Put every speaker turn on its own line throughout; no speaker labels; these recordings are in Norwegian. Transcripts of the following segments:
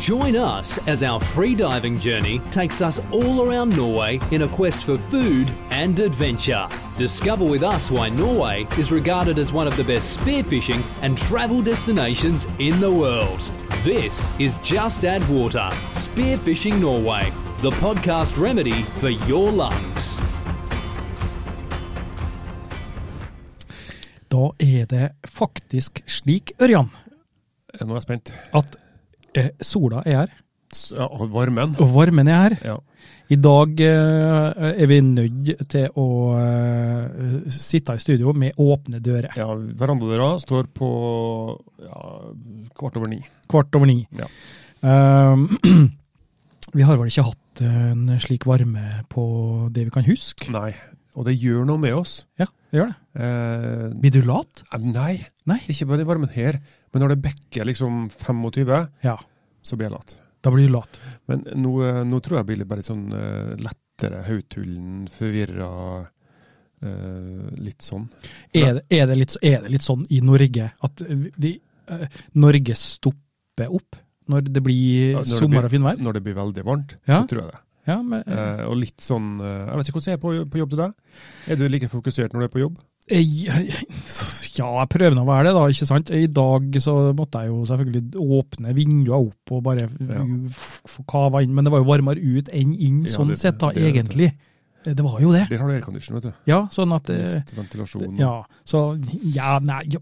Join us as our free diving journey takes us all around Norway in a quest for food and adventure. Discover with us why Norway is regarded as one of the best spearfishing and travel destinations in the world. This is Just Add Water Spearfishing Norway, the podcast remedy for your lungs.
Da er det faktisk slik, Ørjan,
Nå er jeg spent.
at eh, sola er her,
S- ja, Varmen.
og varmen er her.
Ja.
I dag eh, er vi nødt til å eh, sitte i studio med åpne dører.
ja Verandadøra står på ja, kvart over ni.
Kvart over ni.
Ja.
Eh, vi har vel ikke hatt en slik varme på det vi kan huske?
Nei. Og det gjør noe med oss.
Ja, det gjør det.
Eh,
Blir du lat?
eh, nei,
Nei.
ikke bare den varmen her. Men når det bekker liksom 25,
Ja,
så blir jeg lat.
da blir du lat.
Men nå, eh, nå tror jeg jeg blir litt bare litt sånn eh, lettere hautullen, forvirra. eh, litt sånn.
Er det, er, det litt, er det litt sånn i Norge at de, eh, Norge stopper opp når det blir
Ja, når det
sommer
blir-
og finvær?
Når det blir veldig varmt,
Ja.
så tror jeg det.
Ja, men,
Eh, og litt sånn eh, Jeg vet ikke hvordan jeg er på, på jobb til deg. Er du like fokusert når du er på jobb?
eh, jeg- ja, jeg prøver nå å være det, da. ikke sant? I dag så måtte jeg jo selvfølgelig åpne vinduene opp og bare
Ja.
f- få kava inn. Men det var jo varmere ut enn inn,
Ja,
sånn
det-
sett, da,
det er det.
egentlig. Eh, Det var jo det.
Der har du aircondition, vet du.
Ja, sånn at eh,
Luft, ventilasjon.
Ja, så Ja, nei Jo,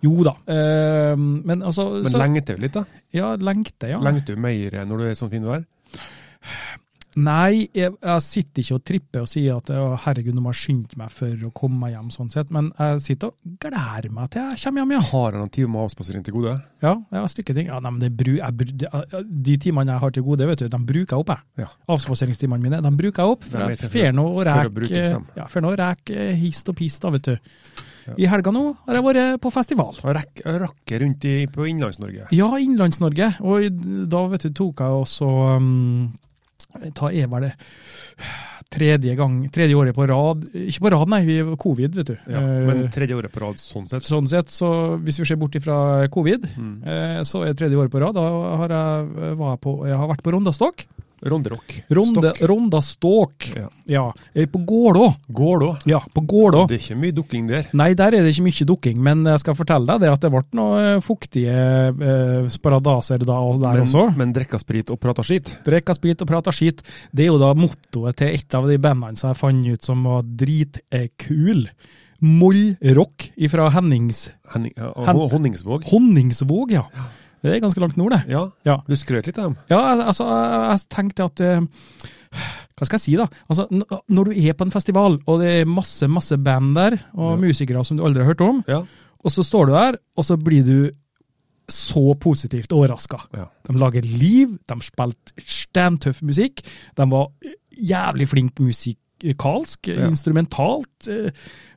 jo da. Eh, Men altså
Men
så,
lengter du litt, da?
Ja, lengte, ja.
Lengter du mer når du er i sånn fint vær?
Nei, jeg, jeg sitter ikke og tripper og sier at å, herregud, nå må jeg skynde meg for å komme meg hjem, sånn sett. Men jeg sitter og gleder meg til jeg kommer hjem, ja.
Har jeg noen timer avspasering til gode?
Ja, jeg har slike ting. Ja, nei, men det bru, jeg, bru- det- jeg- de timene jeg har til gode, vet du, de bruker jeg opp, jeg.
Ja.
Avspaseringstimene mine, de bruker jeg opp. For
Nei,
jeg
men jeg
fer nå og
for å bruke
reker
dem.
ja, fer nå og rek, eh, hist og pist, da, vet du.
Ja.
I helga nå har jeg vært på festival.
Jeg rekk- jeg rakker rundt i, på Innlands-Norge.
Ja, Innlands-Norge. Og i- da vet du, tok jeg også um, Ta er vel det tredje, gang, tredje året på rad Ikke på rad, nei, vi covid, vet du.
Ja,
Eh,
men tredje året på rad, sånn sett.
sånn sett, så hvis vi ser bort ifra covid,
Mm.
eh, så er det tredje året på rad. Da har jeg, eh, var jeg, på, jeg har vært på Rondastok.
Ronderock.
Ronde,
Stokk.
Rondastok.
Ja.
Ja. eh, På Gålå.
Går da.
Ja, på Gålå.
Det er ikke mye dukking der.
Nei, der er det ikke mye dukking, men jeg skal fortelle deg det at det ble noen fuktige eh, sparadaser da og der
men,
også.
men drikker sprit og prater skit.
Drekka sprit og prata skit. Det er jo da mottoet til et av de bandene som jeg fant ut som var dritkul. Mollrock fra Hennings
Henning, ja, og
Hen-
Hon- Honningsvåg.
Honningsvåg, ja. Det er ganske langt nord, det.
Ja,
Ja.
du skrøt litt av dem.
Ja, al- altså, jeg jeg tenkte at eh, Hva skal jeg si, da? Altså, n- når du er på en festival, og det er masse, masse band der, og musikere som du aldri har hørt om,
Ja.
og så står du der, og så blir du så positivt overraska.
Ja.
De lager liv, de spilte steintøff musikk, de var jævlig flink musikalsk,
Ja.
instrumentalt, eh,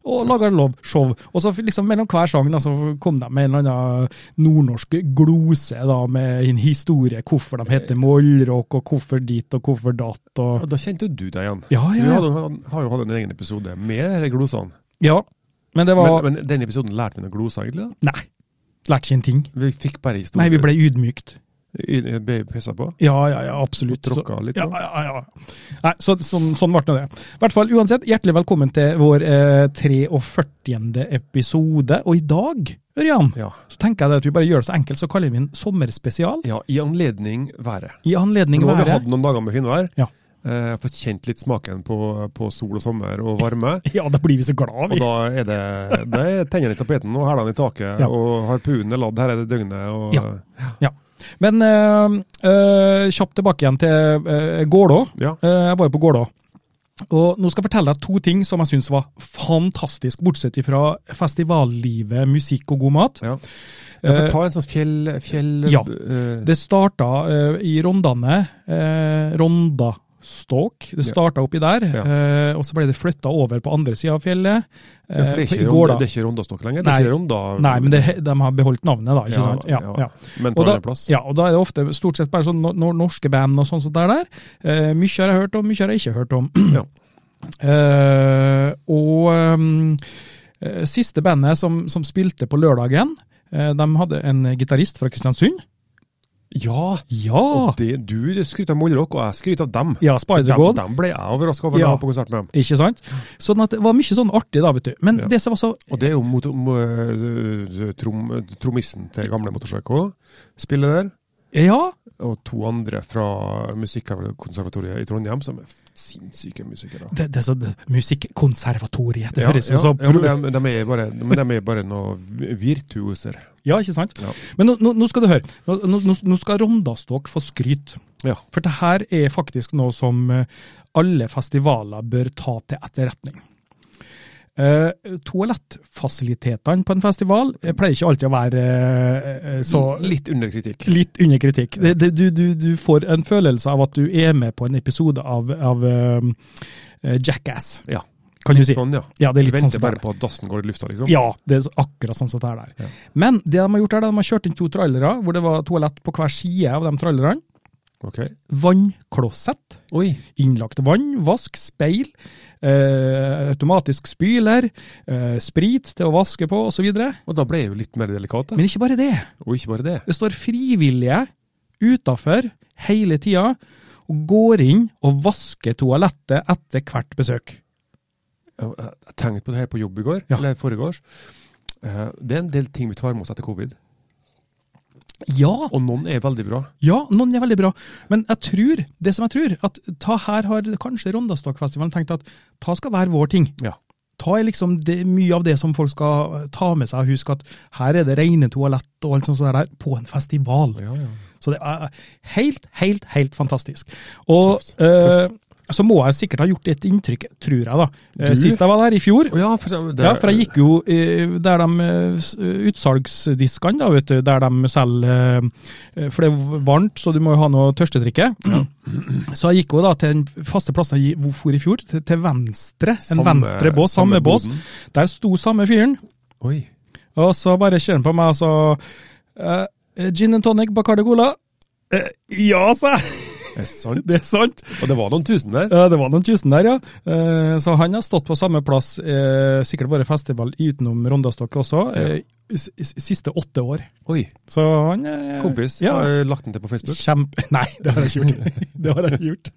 og laga show. Og så liksom mellom hver sang da, så kom de med en eller annen nordnorsk glose da, med en historie, hvorfor de heter Mollrock, og hvorfor dit og hvorfor datt.
Og
Og,
da kjente du deg igjen.
ja,
Vi
ja, ja.
hadde, har jo hatt en egen episode med de glosene.
ja. Men det var
Men, men denne episoden lærte vi noen gloser, egentlig. da.
Nei, lærte ikke en ting.
Vi fikk bare
Nei,
historier.
vi ble ydmykt.
I- Ble pissa på?
Ja, ja, ja, absolutt.
Og tråkka
Så-
litt
ja,
på.
ja, ja. Nei, så, sånn, sånn ble nå det. I hvert fall, uansett, hjertelig velkommen til vår eh, 43. episode. Og i dag, Ørjan,
Ja.
så tenker jeg det at vi bare gjør det så enkelt, så kaller vi den sommerspesial.
ja I anledning været.
I anledning
Nå har vi
været.
hatt noen dager med finvær.
Ja.
Eh, fått kjent litt smaken på, på sol og sommer og varme.
Ja, da blir vi så glad
Og
vi.
da er det Da er tennene i tapeten og hælene i taket,
Ja.
og harpunen er ladd her er det døgnet. Og,
Ja. Men eh, eh, kjapt tilbake igjen til eh, Gålå.
Ja.
Eh, jeg var jo på Gålå. Og nå skal jeg fortelle deg to ting som jeg syns var fantastisk, bortsett fra festivallivet, musikk og god mat.
ja. Ja, for ta en sånn fjell... fjell
Eh, Ja.
eh,
Det starta eh, i Rondane, eh, Rondastok. Det
Ja.
starta oppi der,
Ja.
eh, og så ble det flytta over på andre sida av fjellet. eh,
ja, for det er
på-
ikke,
i
Ronda-
Gåla.
det er ikke Rondastokk
Nei.
lenger? Det er ikke Ronda...
Nei, men det, de har beholdt navnet, da. ikke sant? Ja, ja.
Men på
Og da,
andreplass.
ja, og da er det ofte stort sett bare sånn no- no- norske band og sånn som det er der. Eh, mye har jeg hørt om, mye har jeg ikke hørt om.
Ja.
Eh, og ehm, eh, siste bandet som, som spilte på lørdagen, eh, de hadde en gitarist fra Kristiansund.
Ja!
Ja!
Og det, du skryter av Mollrock, og jeg skryter av dem.
Ja,
Dem,
Spider-God.
dem ble jeg overraska over
Ja.
da jeg var på konsert med dem.
Ikke sant? Sånn at det var mye sånn artig, da, vet du. Men
Ja.
det som var så
Og det er jo mot, mo- øh, trom, trommisen til gamle Motorsjøk òg, spiller der.
Ja,
Og to andre fra Musikkonservatoriet i Trondheim, som er f- sinnssyke musikere.
det, det er så det- Musikkonservatoriet. Det
Ja,
høres
ja,
jo så
ja, men de, de er bare, men de er bare noen virtuoser.
Ja, ikke sant?
Ja.
Men nå, nå, nå skal du høre. Nå, nå, nå- nå skal Rondastok få skryt.
Ja.
For det her er faktisk noe som eh, alle festivaler bør ta til etterretning. Eh, toalettfasilitetene på en festival eh, pleier ikke alltid å være eh, eh, så
Litt under kritikk.
litt under kritikk. Det, det, du, du, du får en følelse av at du er med på en episode av, av eh, Jackass,
Ja.
kan du si.
Sånn, ja.
Ja, det er
Du
litt sånn som
venter
det
bare
er.
på at dassen går i lufta, liksom.
Ja, det er akkurat sånn som det er der.
Ja.
Men det de har gjort er at de har kjørt inn to trailere, hvor det var toalett på hver side av de trailerne.
Ok.
Vannklosett,
Oi.
innlagt vann, vask, speil, eh, automatisk spyler, eh, sprit til å vaske på osv. Men
Og da ble jeg jo litt mer delikat, da.
ikke bare det.
Og ikke bare det.
Det står frivillige utafor hele tida og går inn og vasker toalettet etter hvert besøk.
Jeg jeg tenkte eh, på det her på jobb i går,
Ja.
eller foregårs. Eh, Det er en del ting vi tar med oss etter covid,
Ja,
og noen er veldig bra.
ja, noen er veldig bra. Men jeg tror, det som jeg tror, at ta her har kanskje Rondastokfestivalen tenkt at ta skal være vår ting.
Ja.
Ta er liksom det, mye av det som folk skal ta med seg. Husk at her er det rene toalett og alt sånt der, der på en festival.
ja, ja.
Så det er helt, helt, helt fantastisk. Og
Tøft, tøft.
eh, så må jeg sikkert ha gjort et inntrykk, tror jeg da. Eh,
Du?
Sist jeg var der, i fjor.
Å ja, for, det,
Ja, for jeg gikk jo eh, der de eh, s- utsalgsdiskene, da, vet du, der de selger eh, For det er varmt, så du må jo ha noe tørstedrikke. Så jeg gikk jo da til den faste plassen jeg gi- for i fjor, til, til venstre. En
Samme-
venstre bås, samme,
samme
bås.
boden.
Der sto samme fyren,
Oi.
og så bare ser han på meg og så eh, Gin and tonic, Bacardi Cola. Eh, ja, sa jeg.
Er det sant?
Det er sant.
Og det var noen tusen der.
Ja, det var noen tusen der, ja. Eh, Så han har stått på samme plass, eh, sikkert vært festival utenom Rondastokk også, eh, s- s- siste åtte år.
Oi.
Så han eh,
Kompis,
Ja.
har jeg lagt den til på Facebook.
Kjempe... Nei, det har jeg ikke gjort. Det har jeg ikke gjort.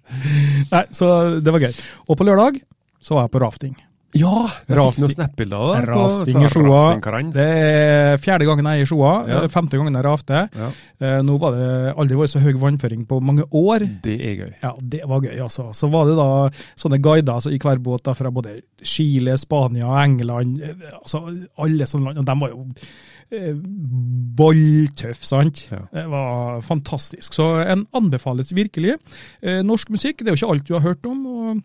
Nei, så det var gøy. Og på lørdag så var jeg på rafting.
Ja! Jeg fikk
Rafting-
noen snap-bilder der. på-
Rafting
fra
i Sjoa.
Raftingkaran.
Det er fjerde gangen jeg er i Sjoa,
Ja.
eh, femte gangen jeg rafter.
Ja.
Eh, Nå var det aldri vært så høy vannføring på mange år.
Det er gøy.
Ja, det var gøy, altså. Så var det da sånne guider altså, i hver båt da, fra både Chile, Spania, England, eh, altså alle sånne land. Og de var jo eh, bolltøff, sant?
Ja.
Det var fantastisk. Så en anbefales virkelig. Eh, norsk musikk, det er jo ikke alt du har hørt om. Og,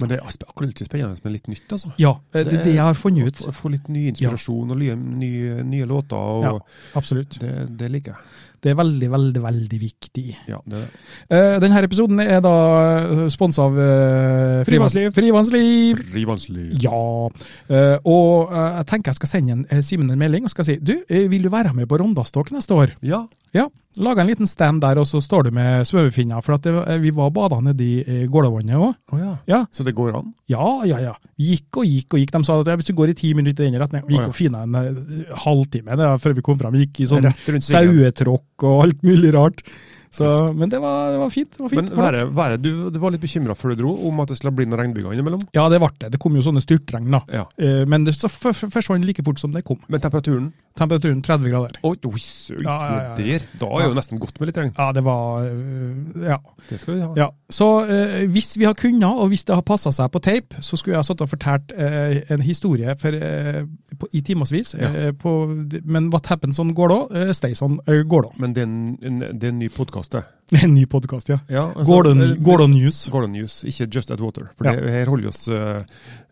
Men det er sp- akkurat litt spennende med litt nytt, altså.
ja, eh, det,
Det
det
er-
er det jeg har funnet ut.
Få- Få litt ny inspirasjon og nye, nye, nye låter, og
Ja, absolutt.
det, det liker jeg.
Det er veldig, veldig, veldig viktig.
Ja, det er det.
Eh, denne episoden er da sponsa av eh,
Frivannsliv.
Frivannsliv.
Frivannsliv.
Ja. eh, og eh, jeg tenker jeg skal sende en, eh, Simen en melding og skal si du, eh, vil du være med på Rondastok neste år?
Ja.
Ja. Laga en liten stand der, og så står du med svømmefinner. For at det, var- eh, vi var og bada nedi eh, Gålavannet òg.
Å ja.
Ja.
Så det går an?
ja, ja, ja. Gikk og gikk og gikk. De sa at ja, hvis du går i ti minutter i den retning Vi
Å, ja.
Gikk og fina en eh, halvtime det, var før vi kom fram. Gikk i sånn
Rett rundt svingen.
sauetråkk og alt mulig rart. Så, men det var, det var fint. Det var fint
Men været, været du, du var litt bekymra før du dro om at det skulle bli noen regnbyger innimellom?
Ja, det ble det. Det kom jo sånne styrtregn, da.
Ja.
Eh, Men det så f- f- forsvant like fort som det kom.
Men temperaturen?
Temperaturen 30 grader.
Oi, oi søren,
Ja, ja, ja, ja.
der! Da er jo nesten godt med litt regn.
Ja, det var øh, Ja.
Det skal vi ha.
ja. Så øh, hvis vi har kunnet, og hvis det har passa seg på tape, så skulle jeg ha satt og fortalt øh, en historie for, øh, på, i timevis.
Ja.
øh, på- men What Happens On Gålå, uh, Stays On øh, Gålå.
Men det er en, en, det er en ny podkast, det.
En ny podkast, ja.
Ja,
Gålå
eh,
Gålå News.
Gordon News, ikke Just At Water. For
Ja.
det, her holder vi oss eh,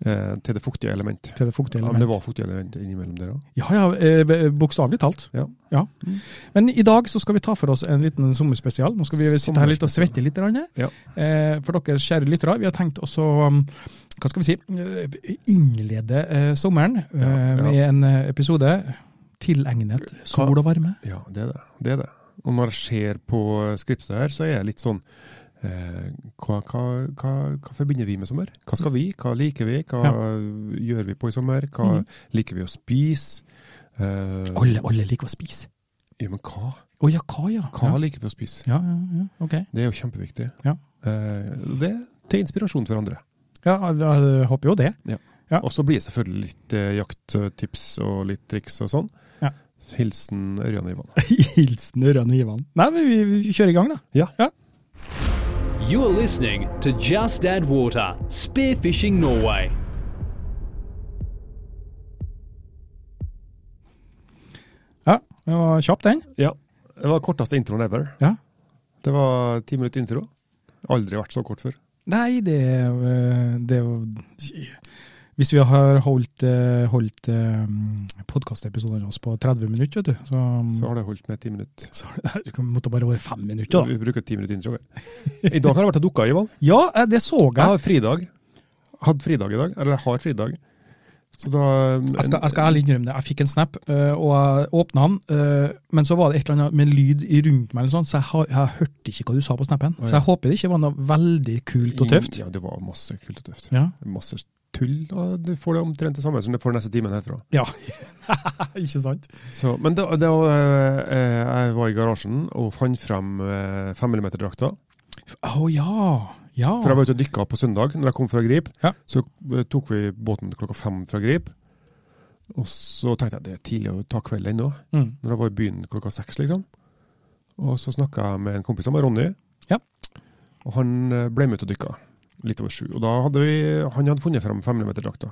eh, til det fuktige element.
Til det fuktige
Ja, men det
element.
var fuktige element innimellom der òg.
Ja, ja, øh, bokstavelig talt.
Ja.
Ja. Men i dag så skal vi ta for oss en liten sommerspesial. Nå skal vi sitte her litt og svette litt. Rane.
Ja.
Eh, For dere kjære lyttere, vi har tenkt også um, hva skal vi si, eh, innlede eh, sommeren eh,
Ja, ja.
med en eh, episode tilegnet sol og varme.
Ja, det er det. det er det. Og når jeg ser på eh, skriptet her, så er jeg litt sånn eh, hva, hva, hva, hva forbinder vi med sommer? Hva skal vi? Hva liker vi? Hva gjør vi på i sommer? Hva
Mhm.
liker vi å spise? Eh,
Alle, alle liker å spise.
Ja, men hva?
Å ja, hva, ja.
Hva
Ja,
liker vi å spise?
ja, ja, ja. ok.
Det er jo kjempeviktig.
Ja.
Eh, det er til inspirasjon for andre.
Ja, jeg jeg håper jo det. Ja.
Og så blir det selvfølgelig litt eh, jakttips og litt triks og sånn.
Ja.
Hilsen Ørjan Ivan.
Hilsen Ørjan Ivan. Nei, men vi, vi kjører i gang, da.
Ja.
You're listening to Just Add Water Spearfishing Norway.
Ja, det var kjapp, den.
ja. Det var korteste introen ever.
Ja.
Det var ti minutter intro. Aldri vært så kort før.
Nei, det, eh, det Hvis vi har holdt, eh, holdt podkastepisodene oss på 30 minutter, vet du, så,
Så har det holdt med ti minutter.
så det måtte bare være fem minutter, da.
Vi bruker ti minutter intro. I dag har jeg vært og dukka, Ivan.
Ja, eh, det så
Jeg
jeg.
har fridag. Hadde fridag i dag. Eller jeg har fridag. Så da um,
Jeg skal, jeg skal ærlig innrømme det. Jeg fikk en snap, eh, og jeg åpna den. eh, Men så var det et eller annet med lyd i rundt meg, eller sånt, så jeg, har, jeg hørte ikke hva du sa på snappen.
Å,
Så
ja.
jeg håper det ikke var noe veldig kult og tøft.
Ja, det var masse kult og tøft.
Ja,
Masse tull. Og du får det omtrent det samme som du får neste timen herfra.
ja. ikke sant?
Så, men da, da eh, jeg var i garasjen og fant frem eh, 5 mm-drakta.
Å ja. Ja.
For jeg var ute og dykka på søndag når jeg kom fra Grip.
Ja.
Så eh, tok vi båten klokka fem fra Grip. Og så tenkte jeg det er tidlig å ta kvelden ennå,
Mm.
når jeg var i byen klokka seks. liksom. Og så snakka jeg med en kompis av meg, Ronny.
Ja.
Og han eh, ble med ut og dykka litt over sju. Og da hadde vi, han hadde funnet frem 5 mm-drakta.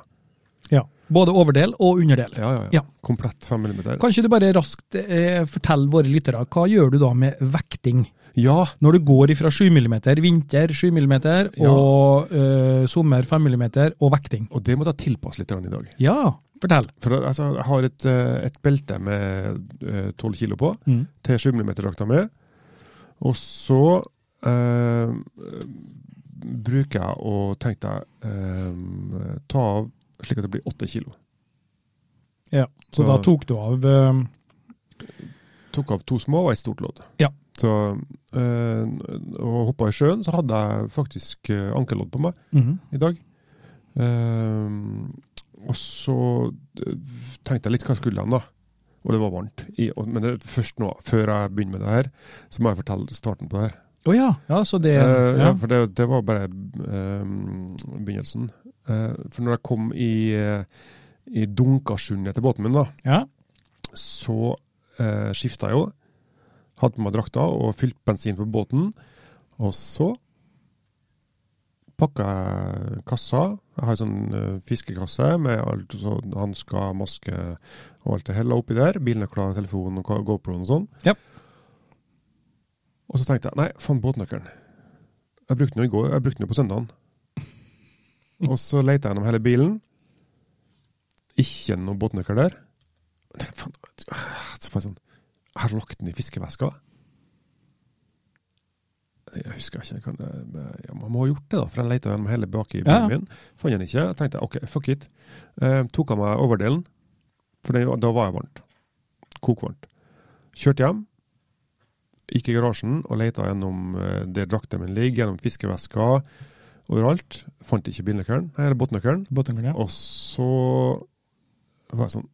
ja. Både overdel og underdel.
Ja, ja, ja.
Ja.
Komplett 5 mm.
Kanskje du bare raskt eh, fortell våre lyttere, hva gjør du da med vekting?
Ja,
Når du går ifra 7 mm, vinter 7 mm og eh, sommer 5 mm og vekting.
og det måtte jeg tilpasse litt grann i dag.
Ja, fortell.
For altså, jeg har et, eh, et belte med eh, 12 kilo på,
Mm.
til 7 mm-drakta mi. Og så eh, bruker jeg å tenke deg eh, ta av slik at det blir 8 kilo.
Ja, så,
Så-
da tok du av eh,
Tok av to små og et stort lodd.
Ja.
Så, eh, og hoppa i sjøen, så hadde jeg faktisk eh, ankerlodd på meg.
mhm.
i dag. Ehm, og så eh, tenkte jeg litt hva skulle han da? Og det var varmt. I, og, men det, først nå, før jeg begynner med det her, så må jeg fortelle starten på det her.
Å ja. ja, så det
Eh, ja.
ja.
for det, det var bare ehm, begynnelsen. Eh, for når jeg kom i, eh, i Dunkasund etter båten min, da,
Ja.
så uh, skifta jeg jo. Hadde på meg drakta og fylt bensin på båten. Og så pakka jeg kassa. Jeg har en sånn eh, fiskekasse med alt, så hansker, maske og alt det hella oppi der. Bilnøkler, telefon og ka- GoPro-en og sånn.
Ja.
Og så tenkte jeg nei, faen båtnøkkelen. Jeg brukte den jo i går, jeg brukte den jo på søndagen. Og så leita jeg gjennom hele bilen. Ikke noe båtnøkkel der. Faen, så får jeg sånn Jeg har lagt den i fiskeveska. Jeg husker ikke. Jeg kan, eh, ja, man må ha gjort det, da, for jeg leita gjennom hele baki i bilen
Ja.
min. Fant den ikke. Jeg tenkte OK, fuck it. Eh, tok av meg overdelen, for det, da var jeg varmt. Kokvarmt. Kjørte hjem. Gikk i garasjen og leita gjennom eh, der drakta mi ligger, gjennom fiskeveska, overalt. Fant ikke bilnøkkelen, nei, eller båtnøkkelen.
Båtnøkkelen, ja.
Og så var jeg sånn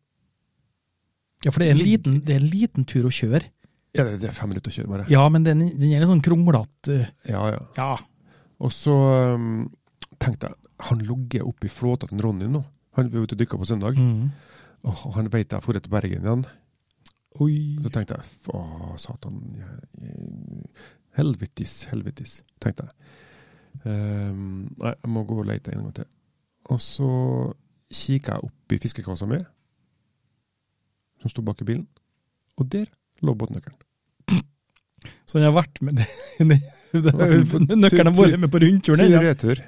ja, for det er, en liten, det er en liten tur å kjøre.
Ja, det det er fem minutter å kjøre, bare.
Ja, men den, den er litt sånn kronglete. eh,
Ja, ja.
Ja.
Og så um, tenkte jeg, han ligger oppe i flåta til Ronny nå. Han var ute og dykka på søndag,
Mhm.
og han veit jeg drar til Bergen igjen.
Oi.
Så tenkte jeg, f- å satan, jeg, jeg, helvetis, helvetis, tenkte jeg. Ehm, nei, jeg må gå og lete en gang til. Og så kikker jeg opp i fiskekassa mi, som sto bak i bilen, og der lå båtnøkkelen.
Så den har vært med Nøkkelen har
Tur-
vært med på rundturen?
Tur
eller?
retur.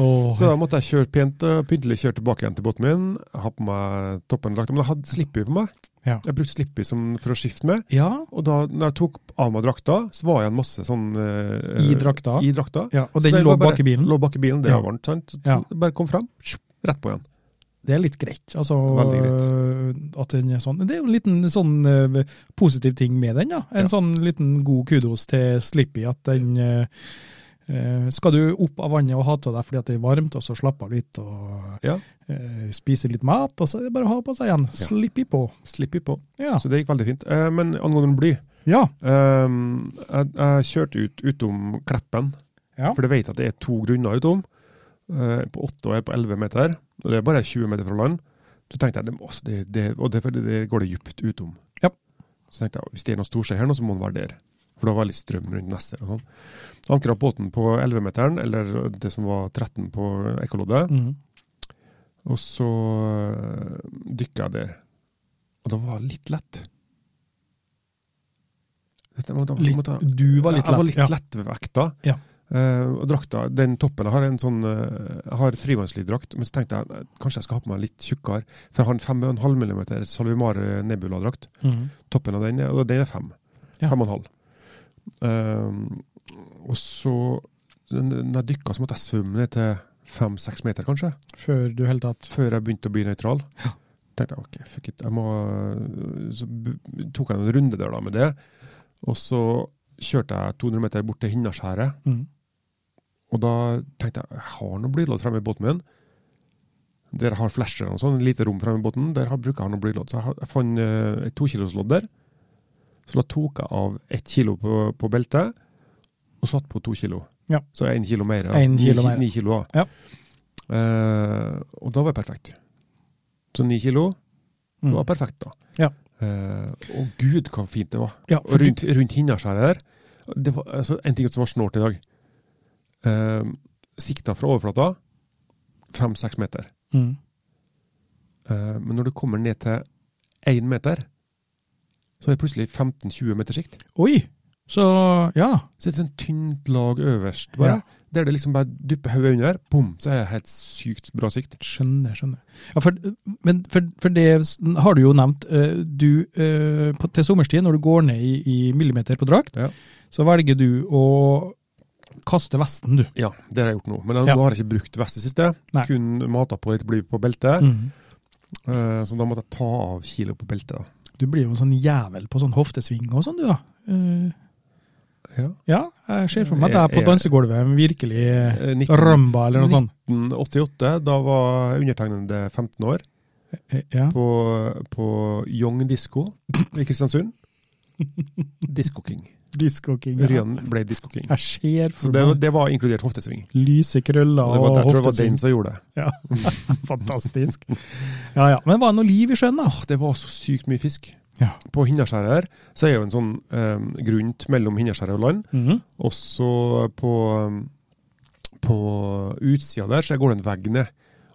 Åh.
Så da måtte jeg kjøre pent og pyntelig kjøre tilbake igjen til båten min. Ha på meg toppen lagt, men jeg hadde slippy på meg.
Ja.
Jeg brukte slippy som, for å skifte med.
ja,
Og da når jeg tok av meg drakta, så var jeg en masse sånn eh,
I drakta?
I drakta.
ja, og
Så
den
det
lå
var bare-
bak i bilen?
Lå bak i bilen, det
Mm. Ja.
var varmt. sant? Så
Ja.
Bare kom fram, tjup, rett på igjen.
Det er litt greit. Altså,
Veldig
øh, At den er sånn. Det er jo en liten sånn øh, positiv ting med den. Ja. En
Ja.
sånn liten god kudos til Slippy, at den øh, Eh, skal du opp av vannet og ha av deg fordi at det er varmt, og så slappe av litt og
Ja.
eh, spise litt mat, og så er det bare å ha på seg igjen. Slippi på.
Slipper på.
Ja.
Så det gikk veldig fint. Eh, men angående bly
ja.
Ehm, jeg, jeg kjørte ut utom Kleppen,
Ja.
for jeg vet at det er to grunner utom. eh, på åtte og en på elleve meter. Og det er bare 20 meter fra land. Så tenkte jeg det, må- altså, det, det, og det, det, det går det dypt utom.
Ja.
Så tenkte jeg hvis det er noe storskje her, nå, så må den være der. For det var litt strøm rundt Nesser og sånn. Ankra båten på 11-meteren, eller det som var 13 på ekkoloddet.
Mm.
Og så dykka jeg der. Og det var litt lett. Dette må- da-
Litt-
må ta-
du var litt
Jeg var
lett,
litt
ja.
lettvekta.
Ja.
Eh, og drakta, den toppen Jeg har en sånn, eh, jeg har frivannslydrakt, men så tenkte jeg eh, kanskje jeg skal ha på meg en litt tjukkere. For jeg har en 5,5 mm Salvimar Nebula-drakt.
Mm.
Toppen av den er, og den er fem.
Ja.
Fem og en halv. Eh, og så, når jeg dykka, så måtte jeg svømme ned til fem-seks meter, kanskje
Før du helt tatt
før jeg begynte å bli nøytral. tenkte jeg ok, fuck it, jeg må Så b- tok jeg en runde der da med det. Og så kjørte jeg 200 meter bort til Hinnaskjæret.
mm.
Og da tenkte jeg jeg har noe blylodd fremme i båten min. Der jeg har flasher og sånn, lite rom fremme i båten. Der har, bruker jeg noe blylodd. Så jeg, har- jeg fant eh, et tokiloslodd der. Så da tok jeg av ett kilo på, på beltet, og satt på to kilo.
Ja.
Så én kilo mer. da.
En kilo
ni, ki-
mer.
Ni kilo, da.
Ja.
Eh, og da var det perfekt. Så ni kilo
Mm.
var perfekt, da.
Ja.
Eh, og gud, hva fint det var.
Ja,
Og
for du,
rundt, rundt Hinnaskjæret der det var, altså, En ting som var snålt i dag. Eh, sikta fra overflata fem-seks meter.
mm.
Eh, men når du kommer ned til én meter, så er det plutselig 15-20 meter sikt.
Oi! Så ja.
Så det er et sånt tynt lag øverst, bare.
Ja.
Der det liksom bare dupper hodet under, bom, så er det helt sykt bra sikt.
Skjønner, skjønner. Ja, for, men for, for det s- har du jo nevnt. eh, Du, eh, på, til sommerstid, når du går ned i, i millimeter på drakt,
Ja.
så velger du å kaste vesten, du.
Ja, det har jeg gjort nå. Men jeg,
Ja.
nå har jeg ikke brukt vest i siste.
Nei.
Kun mata på litt bly på beltet.
Mm.
Eh, så da måtte jeg ta av kilo på beltet. da.
Du blir jo en sånn jævel på sånn hoftesving og sånn, du da. Eh, ja, jeg ser for meg at jeg på
Jeg- jeg-
dansegulvet virkelig eh,
Eh, 19,
rømba eller noe sånt.
1988, da var undertegnede 15 år,
Eh, Ja.
på, på Young Disco i Kristiansund. Disco King.
Disco King. Ja.
Ryan ble Disco King.
Jeg ser
Så
for
det,
meg
det var inkludert hoftesving.
lyse
Og det
krøller
var,
og
jeg tror det var
hoftesving.
den som gjorde det.
Ja, fantastisk. Ja, ja. Men var det noe liv i sjøen, da?
Åh, Det var så sykt mye fisk.
Ja.
På Hinnaskjæret her, så er jo en sånn eh, grunt mellom Hinnaskjæret og land.
Mhm.
Også på, eh, på utsida der så går det en vegg ned.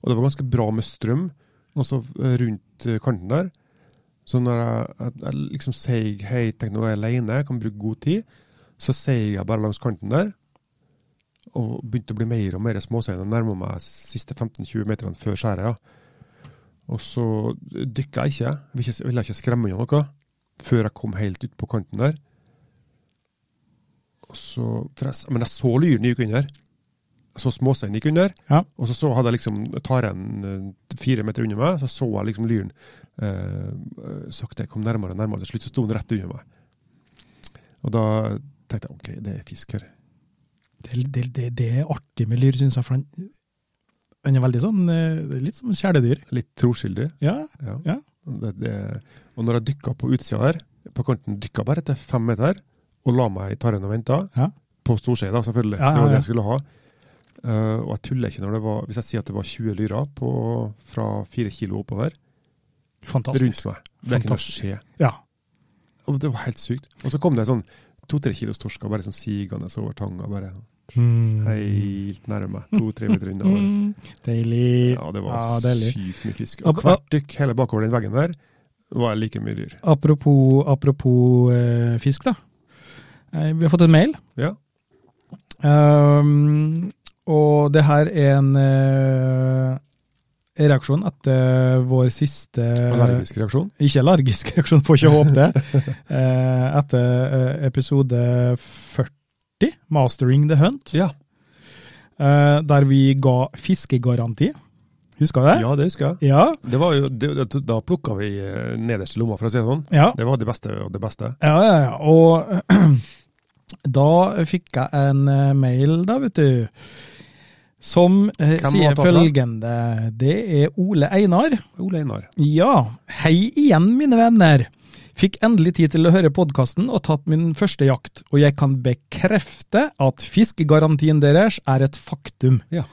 Og det var ganske bra med strøm også eh, rundt eh, kanten der. Så når jeg, jeg, jeg liksom sier hei, tenk nå er jeg alene, jeg kan bruke god tid, så sier jeg bare langs kanten der. Og begynte å bli mer og mer småsein. Jeg nærma meg siste 15-20 meterne før skjæret. Ja. Og så dykka jeg ikke. Jeg ville ikke, ville ikke skremme unna noe før jeg kom helt ut på kanten der. Og så, for jeg, s- men jeg så lyren gikk under. Jeg så småsteinen gikk under.
Ja.
Og så, så hadde jeg liksom taren eh, fire meter under meg, så så jeg liksom lyren eh, eh, sakte kom nærmere og nærmere. Til slutt så sto den rett under meg. Og da tenkte jeg ok, det er fisk her.
Det, det, det, det er artig med lyr, syns jeg. For han, han er veldig sånn eh, Litt som kjæledyr.
Litt troskyldig.
Ja.
Ja.
Ja.
Det, det, og når jeg dykka på utsida her, på kanten dykka bare til fem meter, og la meg i tarren og venta,
Ja.
på storskje da, selvfølgelig,
Ja, ja,
det var
ja.
det jeg skulle ha. Eh, og jeg tuller ikke når det var, hvis jeg sier at det var 20 lyrer på, fra 4 kilo oppover, rundt
Fantastisk.
meg. Det kunne
Fantastisk.
skje.
Ja.
Og det var helt sykt. Og så kom det sånn to-tre kilos torsker bare sånn sigende over tanga, bare helt nærme meg. To-tre meter unna. bare.
Mm. Deilig.
Ja, det
Ja,
var
deilig.
sykt mye fisk.
Ab-
Og hvert dykk hele bakover den veggen der var like mye dyr.
Apropos, apropos eh, fisk, da. Eh, vi har fått en mail.
Ja.
Ehm, og det her er en eh, reaksjon etter vår siste
Allergisk reaksjon.
Ikke allergisk reaksjon, får ikke håpe det. Eh, etter eh, episode 40, 'Mastering the Hunt',
Ja.
eh, der vi ga fiskegaranti. Husker du det?
ja, det husker jeg.
Ja.
Det var jo, det, det, da plukka vi eh, nederste lomma, for å si det sånn.
ja.
Det var det beste og det beste.
Ja, ja, ja. Og Da fikk jeg en eh, mail, da, vet du. Som eh,
Hvem var
sier
det fra?
følgende. Det er Ole Einar.
Ole Einar.
Ja, hei igjen, mine venner. Fikk endelig tid til å høre podkasten og tatt min første jakt, og jeg kan bekrefte at fiskegarantien deres er et faktum.
Ja.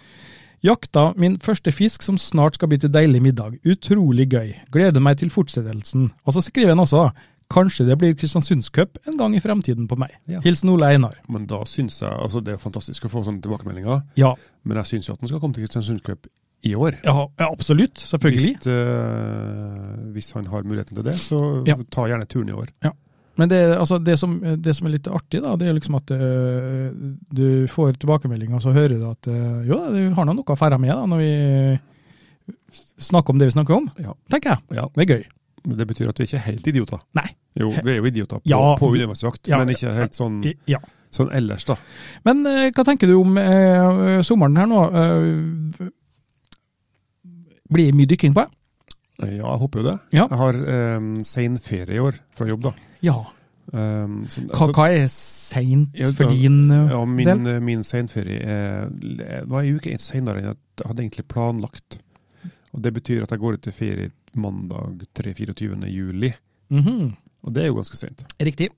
Jakta min første fisk som snart skal bli til deilig middag. Utrolig gøy. Gleder meg til fortsettelsen. Og så skriver han også kanskje det blir Kristiansundscup en gang i fremtiden på meg.
Ja.
Hilsen Ole Einar.
Men da syns jeg altså Det er fantastisk å få sånne tilbakemeldinger,
Ja,
men jeg syns jo at han skal komme til Kristiansund Cup i år.
ja ja, absolutt. Selvfølgelig.
Hvis, eh, hvis han har muligheten til det, så
Ja.
ta gjerne turen i år.
Men det, altså, det, som, det som er litt artig, da, det er liksom at eh, du får tilbakemeldinger, og så hører du at eh, jo, du har nå noe å ferde med da, når vi snakker om det vi snakker om,
Ja.
tenker jeg.
Ja.
Det er gøy.
Men det betyr at vi er ikke er helt idioter.
Nei.
Jo, vi er jo idioter på,
Ja.
på undervannsjakt,
Ja.
men ikke helt sånn,
I, ja.
sånn ellers, da.
Men eh, hva tenker du om eh, sommeren her nå? Eh, blir det mye dykking på?
Ja, jeg håper jo det.
Ja.
Jeg har um, sein ferie i år fra jobb, da.
Ja.
Ehm, så,
Hva,
altså,
hva er seint
Ja,
for din eh,
ja, min,
del?
eh, min seinferie er- det var en uke senere enn jeg hadde egentlig planlagt. Og Det betyr at jeg går ut til ferie mandag 3-24. juli,
Mhm.
og det er jo ganske seint.
Riktig.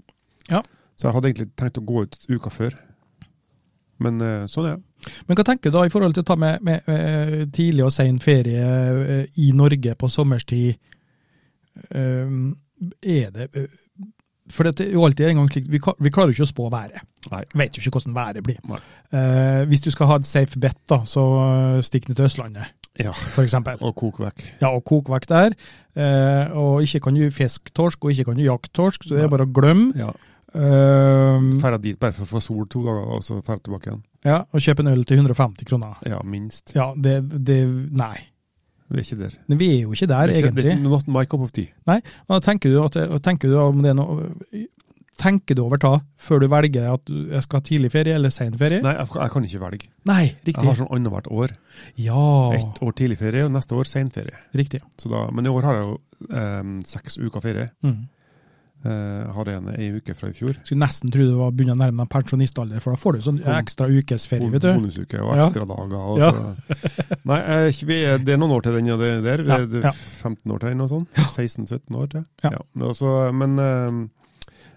Så jeg hadde egentlig tenkt å gå ut uka før, men eh, sånn er det.
Men hva tenker du da i forhold til å ta med, med eh, tidlig og sen ferie eh, i Norge på sommerstid? Ehm, er det eh, For det er jo alltid en gang slik, vi, ka- vi klarer jo ikke å spå været.
Nei.
Vet jo ikke hvordan været blir.
Nei.
Eh, hvis du skal ha et safe bet, da, så eh, stikk ned til Østlandet,
Ja.
for eksempel.
Og koke vekk.
Ja, og kok vekk der. Eh, og ikke kan du fiske torsk, og ikke kan du jakte torsk, så det er bare å glemme.
Ja.
Ehm,
Ferda dit bare for å få sol to dager, og så ferda tilbake igjen.
ja, og kjøpe en øl til 150 kroner.
Ja, minst.
Ja, det, det Nei.
Vi er ikke der.
Men vi er jo ikke der,
det er ikke, det er
egentlig.
ikke not my cup of tea.
Og tenker du, at, og tenker du om det er noe Tenker du over da, før du velger at du jeg skal ha tidlig ferie eller sen ferie?
Nei, jeg, jeg kan ikke velge.
Nei,
Jeg har
riktig.
sånn annethvert år.
Ja,
Ett år tidlig ferie, og neste år sen ferie.
riktig.
Så da, men i år har jeg jo em, seks uker ferie.
Mm.
Eh, Jeg hadde en ei uke fra i fjor.
Skulle nesten tro du var begynner å nærme deg pensjonistalder, for da får du sånn ekstra ukesferie, vet du.
Bonusuke og
Ja.
ekstra dager. Og
Ja.
så. Nei, eh, ikke vi er, det er noen år til den og det der. Vi er
Ja, ja.
15 år til den og sånn. 16-17 år til.
Ja.
Og så- men em,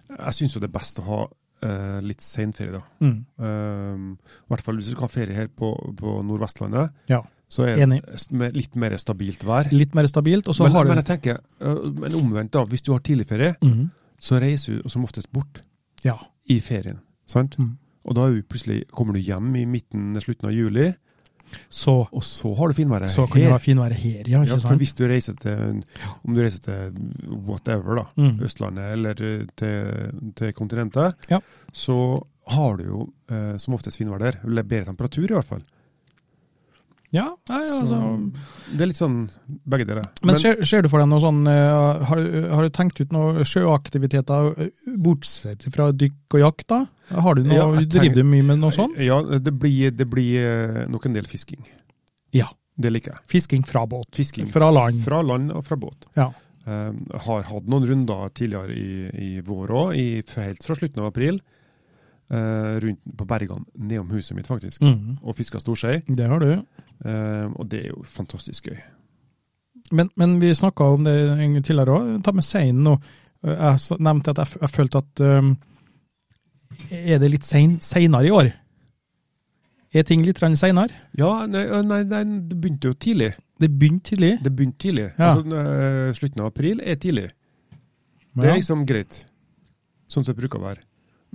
jeg syns jo det er best å ha eh, litt sen ferie, da.
Mm.
Ehm, I hvert fall hvis du skal ha ferie her på, på Nordvestlandet,
Ja.
så er
Enig.
det s- med litt mer stabilt vær.
Litt mer stabilt, og så
Eh. men,
har du
men jeg tenker, øh, men omvendt da, hvis du har tidlig ferie,
Mhm.
så reiser du som oftest bort
Ja.
i ferien. sant?
Mm.
Og da er du plutselig, kommer du hjem i midten, slutten av juli,
Så,
og så har du finværet
så kan det være finværet her, ja.
Ja,
Ikke
for
sant?
hvis du reiser til, om du reiser til whatever da,
Mm.
Østlandet eller eh, til, til kontinentet,
Ja.
så har du jo eh, som oftest finvær der, eller bedre temperatur i hvert fall.
Ja, nei, altså.
Så det er litt sånn begge deler.
Men, ser, ser du for deg noe sånn eh, har, du- har du tenkt ut noen sjøaktiviteter eh, bortsett fra dykk og jakt, da? Har du noe,
Ja, jeg tenker-
Driver du mye med noe sånt?
Ja, det blir, det blir eh, nok en del fisking.
Ja.
Det liker jeg.
Fisking fra båt.
Fisking
Fra land.
fra land og fra båt.
Ja.
Um, har hatt noen runder tidligere i, i vår òg, helt fra slutten av april. eh, rundt på bergene nedom huset mitt, faktisk.
Mhm.
Og fiska storsei.
Det har du.
Um, og det er jo fantastisk gøy.
Men, men vi snakka om det en gang tidligere òg. Ta med seinen nå. Eh, Jeg s- nevnte at jeg, f- jeg følte at ehm, Er det litt sein, seinere i år? Er ting litt grann seinere?
Ja, nei, øh, nei, nei, det begynte jo tidlig.
Det begynte tidlig.
Det begynte tidlig.
Ja.
Altså, øh, slutten av april er tidlig. Det
Ja.
er liksom greit. Sånn som det bruker å være.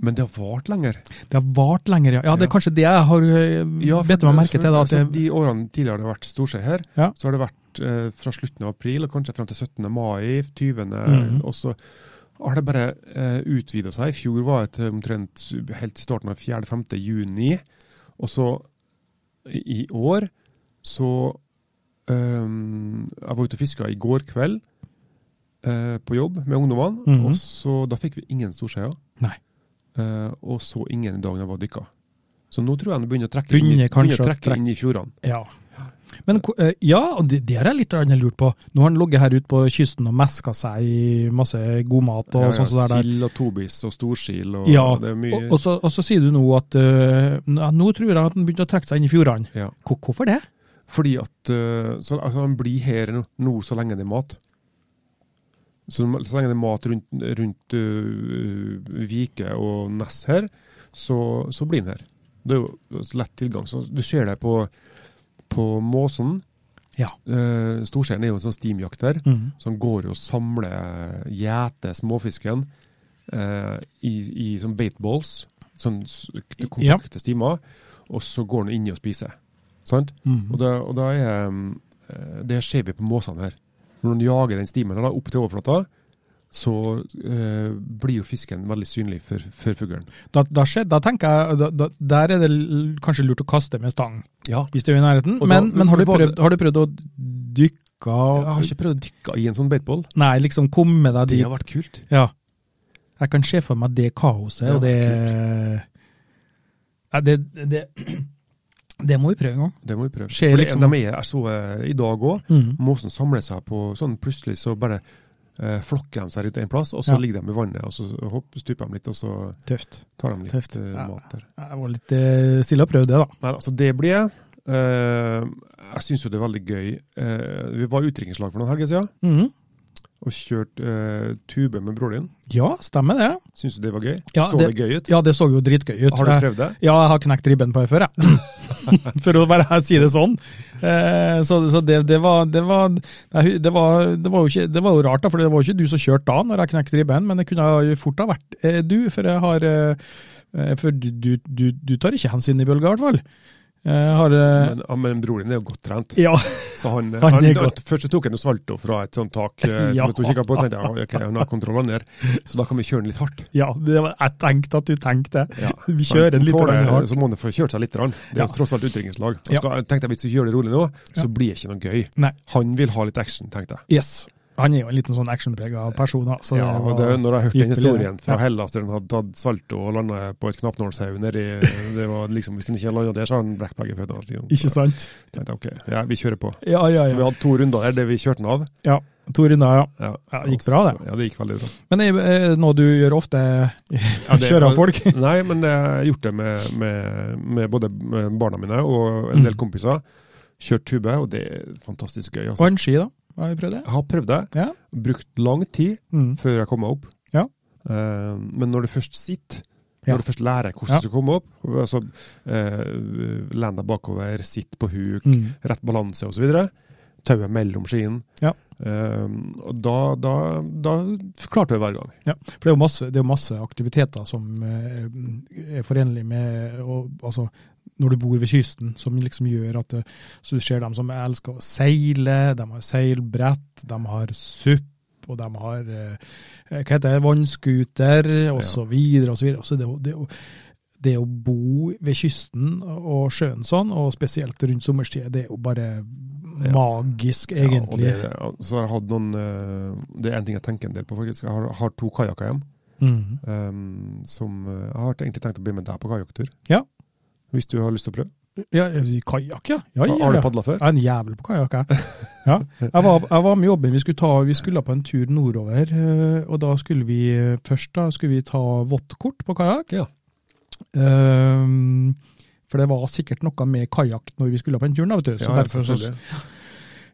Men det har vart lenger.
Det har vart lenger, ja. ja. Det er
Ja.
kanskje det jeg har ja,
for-
bitt meg merke til. Da,
altså,
at det,
De årene tidligere det har vært storskje her,
Ja.
så har det vært eh, fra slutten av april og kanskje frem til 17. mai, 20.
Mhm.
og så har det bare eh, utvida seg. I fjor var det til omtrent helt til starten av 4.-5. juni. Og så i i år så ehm, Jeg var ute og fiska i går kveld eh, på jobb med ungdommene,
Mhm.
og så da fikk vi ingen storskjeer.
Nei.
Eh, og så ingen dagen jeg var dykka. Så nå tror jeg han begynner å trekke,
Begynner
inn, i-
kanskje å
begynner å trekke inn i fjordene.
ja. Men ko- eh, ja, og det, det har jeg litt grann lurt på. Nå har han ligget her ute på kysten og meska seg i masse god mat og
Ja, ja,
sånn som det er der.
Sild og tobis og storsil og
Ja,
det er
og,
mye
og, så, og så sier du nå at eh, ja, nå tror jeg at han begynte å trekke seg inn i fjordene.
Ja.
Hvor- Hvorfor det?
Fordi at eh, så, altså, Han blir her nå, nå så lenge det er mat. Så, så lenge det er mat rundt, rundt eh, Vike og Ness her, så, så blir han her. Det er jo lett tilgang. Så du ser det på, på Måsen.
Ja.
Eh, Storselen er jo en sånn stimjakt der.
Mm.
Så han går jo og samler, gjeter småfisken eh, i, i sånn baitballs, sånn s- kompakte stimer, og så går han inni og spiser. Sant?
Mm.
Og da, og da er um, eh, Det ser vi på måsene her. Når han jager den stimen her da, opp til overflata, så eh, blir jo fisken veldig synlig for, for fuglen.
Da, da, skjer, da tenker jeg da, da, Der er det l- kanskje lurt å kaste med stang,
Ja.
hvis det er i nærheten.
Og da-
men men har, du
var det-
prøvd, har du prøvd å dykke
Jeg har ikke prøvd å dykke i en sånn baitball.
Nei, liksom komme deg
Det
dit.
har vært kult.
Ja. Jeg kan se for meg det kaoset,
Ja,
og det Nei, det, det, det må vi prøve en gang.
Det må vi prøve.
Skjer
For det-
liksom-
De er, jeg så eh, i dag òg. Måsen samler seg på sånn plutselig så bare eh, flokker de seg rundt en plass, og så
Ja.
ligger de i vannet, og så hopp, stuper de litt, og så
Tøft.
tar de litt
Tøft,
eh,
ja.
mat der.
Jeg var litt eh, stille og prøvde det, da.
Nei, altså det blir jeg. Eh, jeg syns jo det er veldig gøy. Eh, vi var i utdrikningslag for noen helger siden,
Mhm.
og kjørte eh, tube med broren din.
Ja, stemmer det.
Syns du det var gøy?
Ja,
så det, gøy ut?
Ja, det så jo dritgøy ut.
Har du
Jeg-
prøvd det?
Ja, jeg har knekt ribben på det før, jeg. For å bare si det sånn. Eh, så så det, det, var, det, var, nei, det, var, det var jo ikke Det var jo rart, da, for det var jo ikke du som kjørte da når jeg knekte ribben, men det kunne jo fort ha vært eh, du, for jeg har eh, eh, For du, du, du, du tar ikke hensyn i bølga, i hvert fall. Eh, Jeg har eh,
Men, ja, men broren din er jo godt trent.
Ja.
Så han,
Han
han,
er godt.
Først så tok han og salto fra et sånt tak eh,
Ja.
som jeg tok kikket på, og tenkte jeg, ok, han har kontrollen der, så da kan vi kjøre den litt hardt.
ja det var, jeg tenkte at du tenkte det.
Ja.
Vi kjører den litt
Tåler-
lenger hardt.
Så må han få kjørt seg litt. grann. Det er
Ja.
jo tross alt utdrikningslag.
Ja.
Tenkte jeg hvis vi gjør det rolig nå, så
Ja.
blir det ikke noe gøy.
Nei.
Han vil ha litt action, tenkte jeg.
Yes. Han er jo en liten sånn actionprega person, da. Så
Ja, og det, når jeg hørte den
ypperlig,
historien
det.
fra
Ja.
Hellas der han hadde tatt salto og landa på et knappnålshau nedi det var liksom, Hvis han ikke landa der, så har han brekt begge føttene.
Ikke sant?
Tenkte jeg, ok, ja, vi kjører på.
Ja, ja,
Så vi
ja.
hadde to runder der der vi kjørte den av.
ja. To runder, ja.
Ja,
Ja, det gikk bra, det.
Så- Ja, det gikk veldig bra.
Men er er det noe du gjør ofte?
det-
Kjører av folk?
Nei, men jeg har gjort det med, med, med både med barna mine og en del
Mm.
kompiser. Kjørt tube, og det er fantastisk gøy.
Og
Altså.
en ski, da. Har vi prøvd det?
Jeg har prøvd det.
Ja.
Brukt lang tid
Mm.
før jeg kom meg opp.
Ja.
Eh, men når du først sitter,
Ja.
når du først lærer hvordan
Ja.
du skal komme opp, altså uh, len deg bakover, sitt på huk,
Mm.
rett balanse osv. Tauet mellom skien.
Ja.
Eh, og da, da, da klarte jeg hver gang.
For det er jo masse, det er jo masse aktiviteter som eh, er forenlig med å- altså, når du bor ved kysten, som liksom gjør at eh, så du ser dem som elsker å seile, de har seilbrett, de har SUP, og de har eh, hva heter det, vannskuter,
Ja.
og så videre, og så videre. Og så det, er jo- det, er jo- det å bo ved kysten og sjøen sånn, og spesielt rundt sommerstid, det er jo bare
Ja.
magisk, egentlig.
Ja, og det, så har jeg hatt noen eh, Det er en ting jeg tenker en del på, faktisk. Jeg har, har to kajakker hjem.
Mhm.
ehm, som eh, Jeg har egentlig tenkt å bli med deg på kajakktur.
Ja.
Hvis du har lyst til å prøve.
ja, kajakk, ja. ja, ja,
Har-
ja.
Har du padla før?
Jeg er en jævel på kajakk, jeg. Ja. Jeg, var, jeg var med jobben. Vi skulle, ta, vi skulle på en tur nordover. eh, Og da skulle vi eh, først da skulle vi ta våttkort på kajakk.
Ja.
Ehm, for det var sikkert noe med kajakk når vi skulle på den turen. da, vet du. Så
Ja, ja,
derfor, så,
selvfølgelig.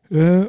Eh,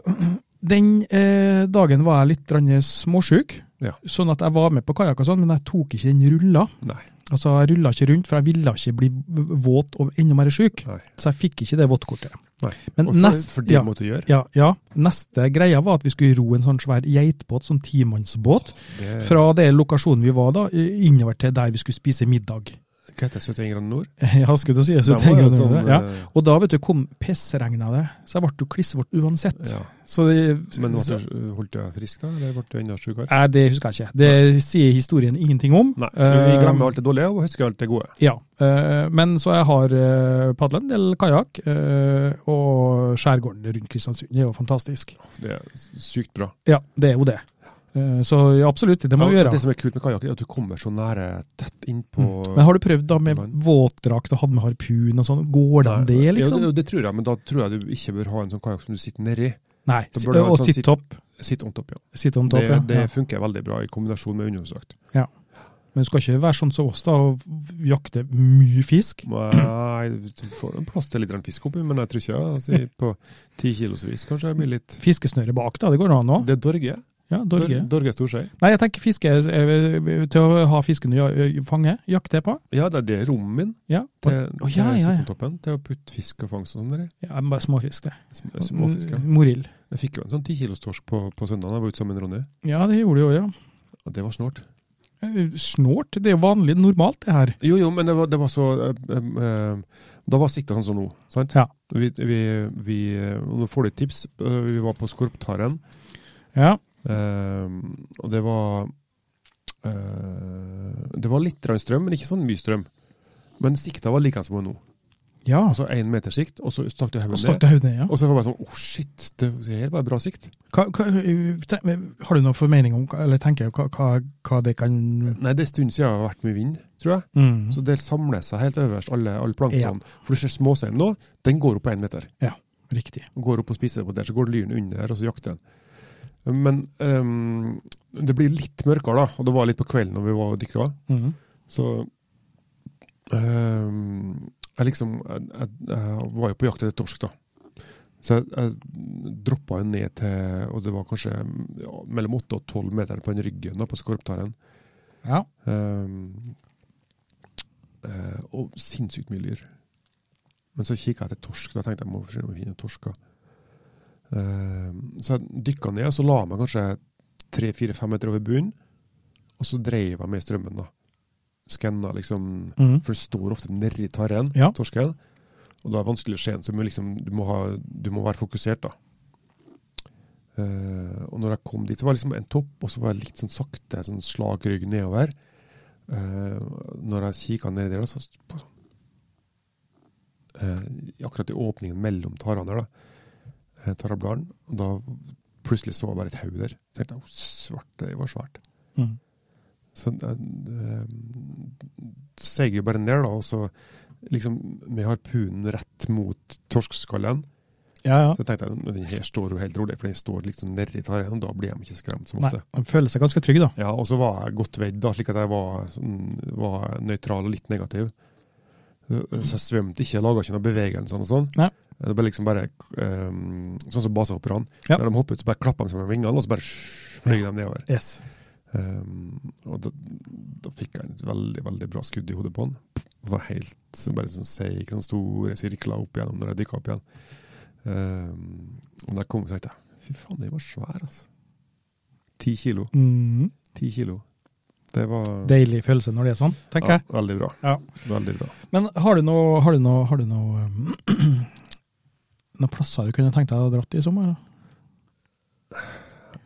den eh, dagen var jeg litt grann småsjuk,
Ja.
sånn at jeg var med på kajakk og sånn, men jeg tok ikke den rulla.
Nei.
Altså, Jeg rulla ikke rundt, for jeg ville ikke bli v- våt og enda mer sjuk.
Nei.
Så jeg fikk ikke det våtkortet.
Nei.
Men
Og for,
nest-
for det
ja.
måtte du gjøre.
Ja, ja. Neste greia var at vi skulle ro en sånn svær geitbåt, sånn timannsbåt,
Det,
fra det lokasjonen vi var da, eh, innover til der vi skulle spise middag.
hva heter det, 71 grader nord?
Ja, skulle du si det, så
Den var
tenker
jo
jeg det,
sånn,
ja.
eh,
Og da vet du, kom pissregna det, så jeg ble jo klissvåt uansett.
ja.
Så det,
Men
så,
ble du- holdt du deg frisk da, eller ble du enda sjukere?
Nei, det husker jeg ikke. Det sier historien ingenting om.
Nei, vi glemmer
Eh,
alt det dårlige og husker alt det gode.
Ja, eh, men så jeg har eh, padlet en del kajakk, eh, og skjærgården rundt Kristiansund det er jo fantastisk.
Det er sykt bra.
Ja, det er jo det. Eh, Så ja, absolutt, det må vi
Ja,
gjøre.
det som er kult med kajakk, er at du kommer så nære, tett innpå
Mm. Men har du prøvd da med
Land.
våtdrakt og hatt med harpun og sånn? Går det an det, liksom?
Ja, det, det tror jeg, men da tror jeg du ikke bør ha en sånn kajakk som du sitter nedi.
Nei.
Da
si-
bør du ha
Og
sånn
sitt opp.
Sitt on top, ja.
Sitt on top,
Det,
ja.
det
ja.
funker veldig bra i kombinasjon med underholdsdrakt.
Men du skal ikke være sånn som oss, da, og jakte mye fisk?
Nei, du får en plass til litt grann fisk oppi, men jeg tror ikke altså, på ti kilos vis kanskje det blir litt
Fiskesnøre bak, da, det går an òg?
Det er dorge.
Ja, dorge.
Dor- Dorge Storsei.
Nei, jeg tenker fiske eh, til å ha fisken du ja- fanger, jakte på.
Ja, det er det rommet min
Ja,
til,
Å, ja,
til
ja, ja.
Sittentoppen. Til å putte fisk og fangst og sånn der. i.
ja bare småfisk, det.
Sm-
Mm.
Småfisk. Ja.
Morill.
Jeg fikk jo en sånn ti kilos torsk på, på søndag. Jeg var ute sammen med Ronny.
Ja, det gjorde du jo, ja.
Og det var snålt.
Eh, Snålt, det er jo vanlig, normalt det her.
Jo, jo, men det var, det var så eh, eh, Da var sikta sånn som nå, sant?
Ja.
Vi, vi, vi, eh, nå får du et tips. Eh, Vi var på Skorptaren,
Ja,
eh, og det var eh, Det var litt grann strøm, men ikke sånn mye strøm. Men sikta var like som nå.
ja.
Altså én meters sikt, og så stakk du
Og
hodet
stakk
ned.
deg hodet ned, ja.
Og så var jeg bare sånn Å, shit, det her var bra sikt.
Hva, hva, tre- har du noen formening om, eller tenker du hva, hva, hva det kan
Nei, det er en stund siden jeg har vært mye vind, tror jeg.
mm.
Så det samler seg helt øverst, alle, alle plankton. For du ser småseien nå, den går opp på én meter.
Riktig.
og går opp og spiser på der, så går lyren under der, og så jakter den. Men ehm, det blir litt mørkere, da, og det var litt på kvelden når vi var og dykka.
Mm.
Så ehm, jeg liksom jeg, jeg, jeg var jo på jakt etter torsk, da. Så jeg, jeg droppa jo ned til Og det var kanskje ja, mellom 8 og 12 meter på den ryggen da, på skorptaren.
Ja.
Ehm, eh, og sinnssykt mye lyr. Men så kikka jeg etter torsk. Da tenkte jeg må forsøke å finne torsker. Ehm, så jeg dykka ned, og så la jeg meg kanskje tre-fire-fem meter over bunnen. Og så dreiv jeg med strømmen, da. Skanna liksom
Mm.
For det står ofte nedi tarren,
Ja.
torsken. Og da er det vanskelig å se den, så du må liksom, du, må ha, du må være fokusert, da. Eh, og når jeg kom dit, så var det liksom en topp, og så var jeg litt sånn sakte, sånn slagrygg nedover. Eh, når jeg kikka nedi der, da, så sånn, eh, Akkurat i åpningen mellom tarene der, da. eh, Tarabladene. Og da plutselig så jeg bare et hode der. Så tenkte jeg, «Å, svart, det var svært.
Mm.
Så eh, eh, seg jo bare ned, da, og så liksom med harpunen rett mot torskskallen.
ja, ja.
Så tenkte jeg "Men den her står jo helt rolig, for den står liksom nedi tarren, og da blir de ikke skremt som
Nei,
ofte.
han føler seg ganske trygg, da.
Ja, Og så var jeg godt vedd, da, slik at jeg var, sånn, var nøytral og litt negativ. Så så jeg svømte ikke, jeg laga ikke noen bevegelser og sånn.
Nei.
Det ble liksom bare eh, sånn som basehopperne.
Ja.
Når de hopper ut, så bare klapper de seg med vingene, og så bare flyr de nedover.
Yes.
Ehm, og da, da fikk jeg et veldig veldig bra skudd i hodet på han. Det var helt så bare sånn seig, sånne store sirkler opp igjennom når jeg dykka opp igjen. Ehm, og da kom jeg og tenkte jeg, fy faen, den var svær, altså. Ti kilo.
Mm.
Ti kilo. Det var
Deilig følelse når det er sånn, tenker
ja,
jeg.
veldig bra.
Ja.
Veldig bra.
Men har du noe, har du noe, har du noe um, noen plasser du kunne tenkt deg å dratt i sommer? da?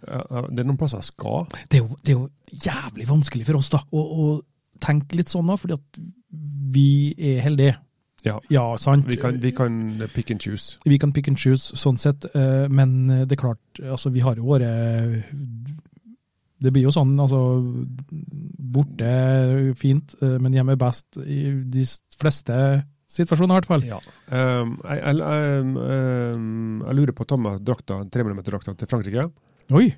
Ja, ja, Det er noen plasser jeg skal.
Det er, jo, det er jo jævlig vanskelig for oss da, å, å tenke litt sånn, da, fordi at vi er heldige.
Ja.
Ja, sant?
Vi kan, vi kan pick and choose.
Vi kan pick and choose sånn sett, eh, men det er klart, altså vi har jo våre Det blir jo sånn, altså Borte fint, eh, men hjemme er best i de fleste situasjoner, i hvert fall.
Ehm, jeg, jeg, jeg, ehm, jeg lurer på å ta med drakta, 3 mm-drakta til Frankrike.
Oi!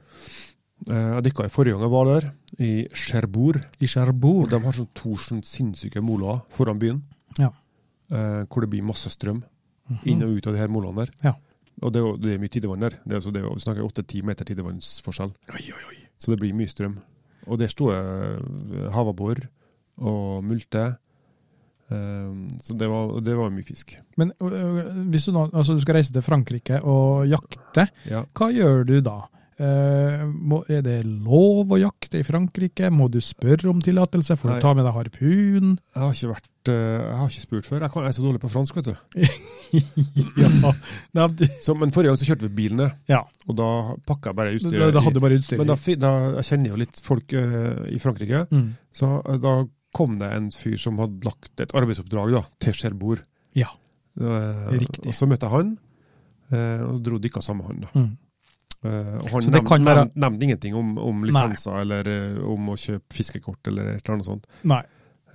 Eh, Jeg dykka i forrige gang jeg var der, i Cherbourg.
I
Og
Cherbourg.
de har sånn to sånn sinnssyke moloer foran byen,
Ja.
eh, hvor det blir masse strøm
Mhm.
inn og ut av de her moloene der.
Ja. Og
Og det er, jo- det er mye tidevann der. Det er, altså, det er, jo- vi snakker åtte-ti meter tidevannsforskjell.
Oi, oi, oi.
Så det blir mye strøm. Og der sto jeg havabbor og multe. Eh, så det var, og det var mye fisk.
Men øh, hvis du nå altså, du skal reise til Frankrike og jakte,
Ja.
hva gjør du da? Eh, må, er det lov å jakte i Frankrike? Må du spørre om tillatelse? Får
Nei.
du ta med deg harpun?
Jeg har ikke vært eh, Jeg har ikke spurt før. Jeg, kan, jeg er så dårlig på fransk, vet du.
ja. Nei, det-
Så, men forrige gang så kjørte vi bilen ned,
ja.
og da pakka jeg bare
Da,
utstyret.
da
i-
hadde du bare utstyr.
Men da, fi- da, jeg kjenner jo litt folk eh, i Frankrike,
mm.
så eh, da kom det en fyr som hadde lagt et arbeidsoppdrag da, til Cherbourg.
Ja.
Eh,
Riktig.
eh, Og så møtte jeg han, eh, og dro og dykka sammen med han. da.
Mm.
Eh, og han
Så det
nevn-
kan være-
nevn- nevnte ingenting om, om
Nei.
lisenser eller eh, om å kjøpe fiskekort eller et eller annet sånt.
Nei.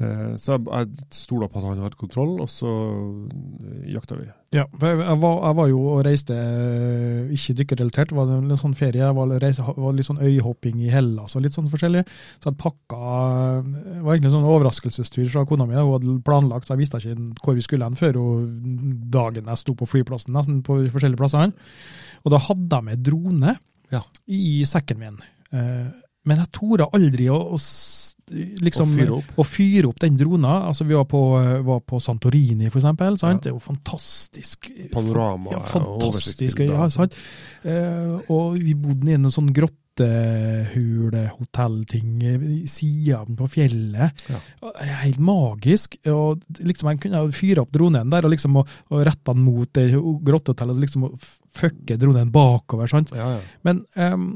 Eh, så jeg, jeg stola på at han hadde kontroll, og så eh, jakta vi.
Ja, for jeg, jeg, var, jeg var jo og reiste, eh, ikke dykkerrelatert, det var en litt sånn ferie. Jeg var, reise, var litt sånn øyhopping i Hellas og litt sånn forskjellig. Så jeg pakka Det var egentlig en sånn overraskelsestur fra kona mi. Hun hadde planlagt, så jeg visste ikke hvor vi skulle hen før og dagen jeg sto på flyplassen, nesten på de forskjellige plassene. Og da hadde jeg med drone
Ja.
i sekken min. Eh, Men jeg torde aldri å, å s- liksom
Å fyre opp.
å fyre opp den drona. Altså, vi var på, var på Santorini, for eksempel. Sant? Det er jo fantastisk. eh,
Panorama
Ja,
og oversikt
fantastisk.
til
Ja,
bilder.
sant? Eh, og vi bodde i en sånn grottehulehotellting eh, i sida på fjellet.
Ja.
Og det er Helt magisk. Og liksom, jeg kunne fyre opp dronen der og, liksom, og, og rette den mot det grottehotellet. og Liksom, og f- fucke dronen bakover. Sant?
Ja, ja.
Men ehm,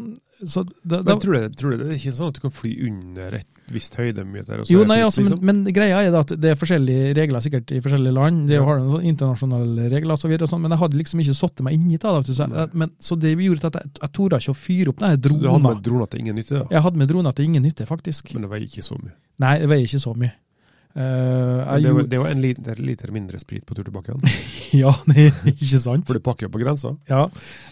så da, da,
Men tror du, tror du det er ikke sånn at du kan fly under et visst høydemeter? og så
Jo,
er det
nei,
fritt,
altså, men,
liksom?
men greia er da at det er forskjellige regler sikkert i forskjellige land. Det har noen sånn internasjonale regler og så videre, og sånn, men jeg hadde liksom ikke satt meg inn i det. da, vet du, så, jeg, men, så det gjorde at jeg, jeg torde ikke å fyre opp denne
Så du hadde
drona.
med droner til ingen nytte, da?
Jeg hadde med drona til ingen nytte, faktisk.
Men det var ikke så mye.
Nei, det veier ikke så mye. Eh,
Men
jeg
Det var,
gjorde,
det var en liter, liter mindre sprit på tur tilbake igjen.
ja, det er ikke sant?
For du pakker jo på grensa.
Ja.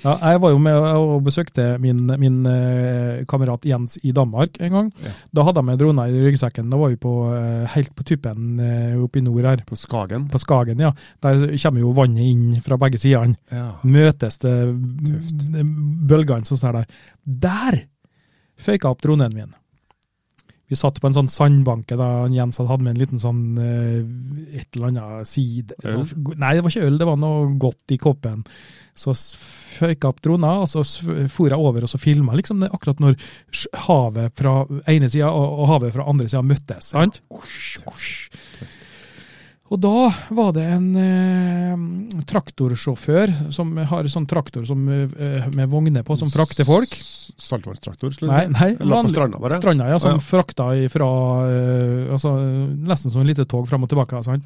ja, jeg var jo med og besøkte min, min eh, kamerat Jens i Danmark en gang.
Ja.
Da hadde jeg med drona i ryggsekken. Da var vi på, eh, helt på tuppen eh, oppe i nord her.
På Skagen.
på Skagen, ja. Der kommer jo vannet inn fra begge sidene.
Ja.
Møtes det
Tøft.
bølgene sånn der. Der føyka opp dronen min. Vi satt på en sånn sandbanke da han Jens hadde hatt med en liten sånn eh, et eller annet side.
Øl?
Nei, det var ikke øl, det var noe godt i koppen. Så s- føyka opp drona, og så s- for jeg over og så filma liksom det akkurat når sj- havet fra ene sida og, og havet fra andre sida møttes. sant? Kush, kush. Og da var det en eh, traktorsjåfør som har sånn traktor som, eh, med vogner på, som frakter folk.
S- Saltvannstraktor, skulle
Nei,
du si.
nei
La på
vanlig-
stranda, bare.
Stranda, ja, som
Å, ja.
frakta fra altså, Nesten som et lite tog fram og tilbake. Sant?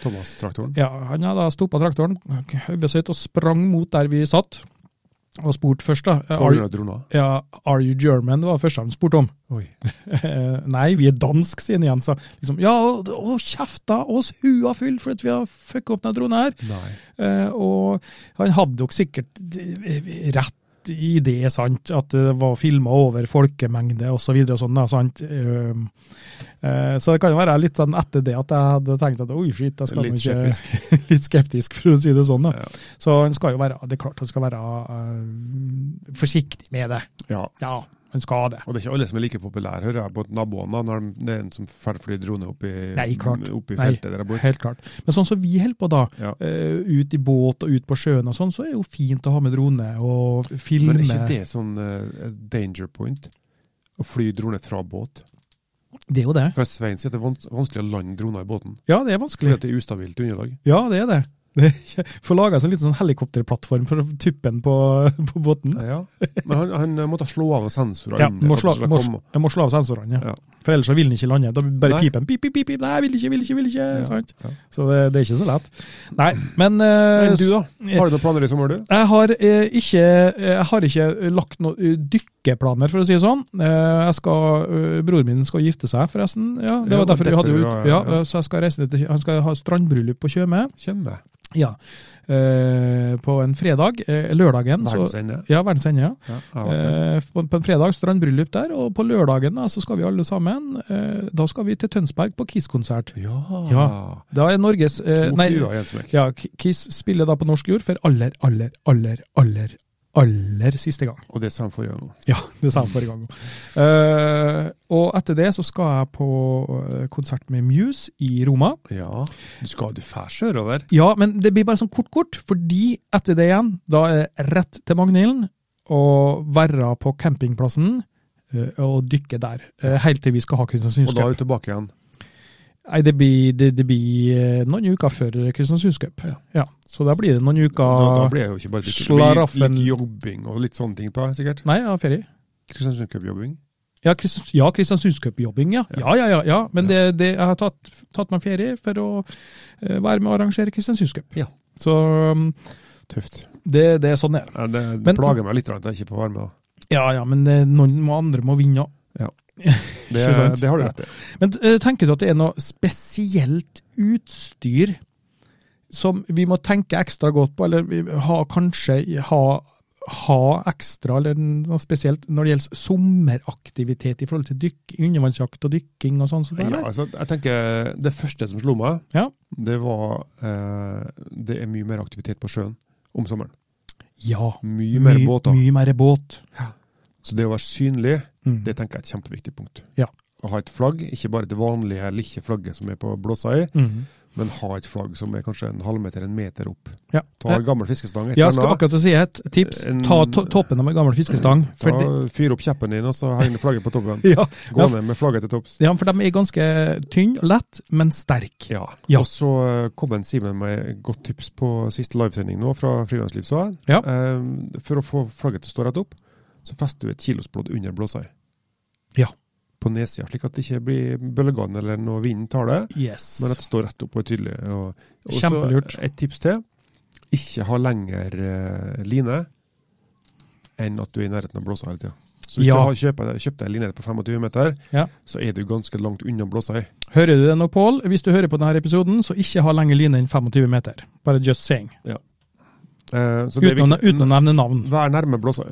Thomas-traktoren.
Ja, han hadde stoppa traktoren, hodet sitt, og sprang mot der vi satt. Og spurte først, da. eh,
På
Are,
grunn av droner.
ja, are you German? Det var det første han spurte om.
Oi.
Eh, Nei, vi er dansk, sier han igjen. Så liksom, ja, og, og kjefta oss hua full for at vi har fucka opp den dronen her.
Nei.
Eh, og han hadde nok sikkert eh, rett i det, sant, at det var filma over folkemengde osv. Og sånn, da, sant. Eh, eh, så det kan jo være litt sånn etter det at jeg hadde tenkt at oi, shit, jeg skal
Litt
nå ikke
skeptisk.
Litt skeptisk, for å si det sånn. da.
Ja.
Så han skal jo være Det er klart han skal være eh, forsiktig med det.
ja.
Ja, han skal det.
Og det er ikke alle som er like populære, hører jeg, på naboene. da, Når de- det er en som fer- flyr drone opp i,
Nei, klart.
opp i
Nei.
feltet der jeg bor.
Helt klart. Men sånn som vi holder på da,
Ja.
eh, ut i båt og ut på sjøen og sånn, så er det jo fint å ha med drone og filme.
Men er ikke det sånn eh, danger point? Å fly drone fra båt?
det er jo det.
For Svein sier at det er vans- vanskelig å lande droner i båten.
Ja, det er
Fordi
vanskelig.
at det er ustabilt underlag.
Ja, det er det. Det er ikke- Får laga en liten sånn helikopterplattform for tuppen på, på båten.
Ja. Men han, han eh, måtte slå av sensorer
Ja,
under.
må
for
slå,
at det skal
må,
komme.
jeg må slå av sensorene, ja.
Ja.
for ellers så vil den ikke lande. Da bare
Nei.
piper den. Pip, pip, pip, pip. Nei, vil ikke, vil ikke, vil ikke.
Ja,
Sant?
ja.
Så det, det er ikke så lett. Nei, men, eh,
Men du da? Har du noen planer i sommer, du?
Jeg har, eh, ikke, jeg har ikke lagt noen dykkeplaner, for å si det sånn. Eh, Jeg skal, eh, broren min skal gifte seg, forresten. Ja, det
Ja,
var derfor vi hadde
derfor,
jo
ja,
ut, ja,
ja, ja.
eh, Så jeg skal reise ned til, han skal ha strandbryllup på Tjøme
Kjemme.
ja. eh, på en fredag. eh, Lørdagen. så-
Verdensende.
Ja, verdens ende. Ja.
Ja, jeg har vært der.
Eh, på, på en fredag strandbryllup der, og på lørdagen da, så skal vi alle sammen. Eh, da skal vi til Tønsberg på Kiss-konsert.
ja.
Da er Norges eh,
To
nei,
fluer i en smekk.
ja, K- Kiss spiller da på norsk jord for aller, aller, aller, aller, aller siste gang.
Og det sa han forrige gang òg.
Ja, det sa jeg forrige gang òg. Eh, og etter det så skal jeg på eh, konsert med Muse i Roma.
Ja. Du skal du fær sørover?
Ja, men det blir bare sånn kort-kort, fordi etter det igjen, da er det rett til Magnhilden og være på campingplassen eh, og dykke der. eh, helt til vi skal ha
Og
Kristiansunds
da er
Cup.
du tilbake igjen.
Nei, det blir, det, det blir eh, noen uker før Kristiansunds Cup. Ja. så da blir det noen uker
Da, da blir det jo ikke bare litt,
Slaraffen.
litt jobbing og litt sånne ting på, sikkert.
Nei, jeg har ferie.
Kristiansund Cup-jobbing.
Ja, Kristians- ja Kristiansunds Cup-jobbing, ja. Ja, ja, ja. ja. Men Det, det, jeg har tatt, tatt meg ferie for å eh, være med og arrangere Kristiansunds Cup.
Ja.
Så, um,
Tøft.
Det, det er sånn det er.
Ja, det
Men-
plager meg litt at jeg ikke får være med. da.
Ja ja, men eh, noen må- andre må vinne òg.
Det,
Ikke sant?
det har du rett i.
Men eh, tenker du at det er noe spesielt utstyr som vi må tenke ekstra godt på, eller vi ha, kanskje ha, ha ekstra, eller noe spesielt når det gjelder sommeraktivitet i forhold til dykk, undervannsjakt og dykking og sånn? som det,
Ja,
eller?
altså, jeg tenker Det første som slo meg,
Ja.
det var eh, Det er mye mer aktivitet på sjøen om sommeren.
ja.
Mye mer
My-
båter.
Mye mer båt.
Så det å være synlig,
Mm.
det tenker jeg er et kjempeviktig punkt.
Ja.
Å ha et flagg, ikke bare det vanlige lille flagget som er på blåsa i,
Mhm.
men ha et flagg som er kanskje en halvmeter, en meter opp.
Ja.
Ta en gammel fiskestang. et
Ja, jeg
eller
skal
annet.
akkurat å si et tips.
En-
Ta to toppen av en gammel fiskestang. For
Ta,
det,
Fyr opp kjeppen din, og så heng flagget på toppen.
ja,
Gå ned med flagget til topps.
ja, for de er ganske tynne og lett, men sterke.
Ja.
Ja.
Og så eh, kom en Simen med et godt tips på siste livesending nå fra Frilandsliv, sa jeg.
Ja.
Eh, for å få flagget til å stå rett opp, så fester du et kilosblodd under blåsa i.
Ja.
På nedsida, slik at det ikke blir bølgene eller når vinden tar det,
Yes.
men at det står rett opp og er tydelig. Og, og så
Kjempelurt.
Et tips til. Ikke ha lenger eh, line enn at du er i nærheten av blåsa hele tida. Så hvis
Ja.
du har kjøpt, kjøpt deg en line på 25 meter,
Ja.
så er du ganske langt unna blåsa i.
Hører du det nå, Pål? Hvis du hører på denne episoden, så ikke ha lenger line enn 25 meter. Bare just saying.
Eh, så det er
Uten, å-
viktig.
uten å nevne navn.
Vær nærme blåsa...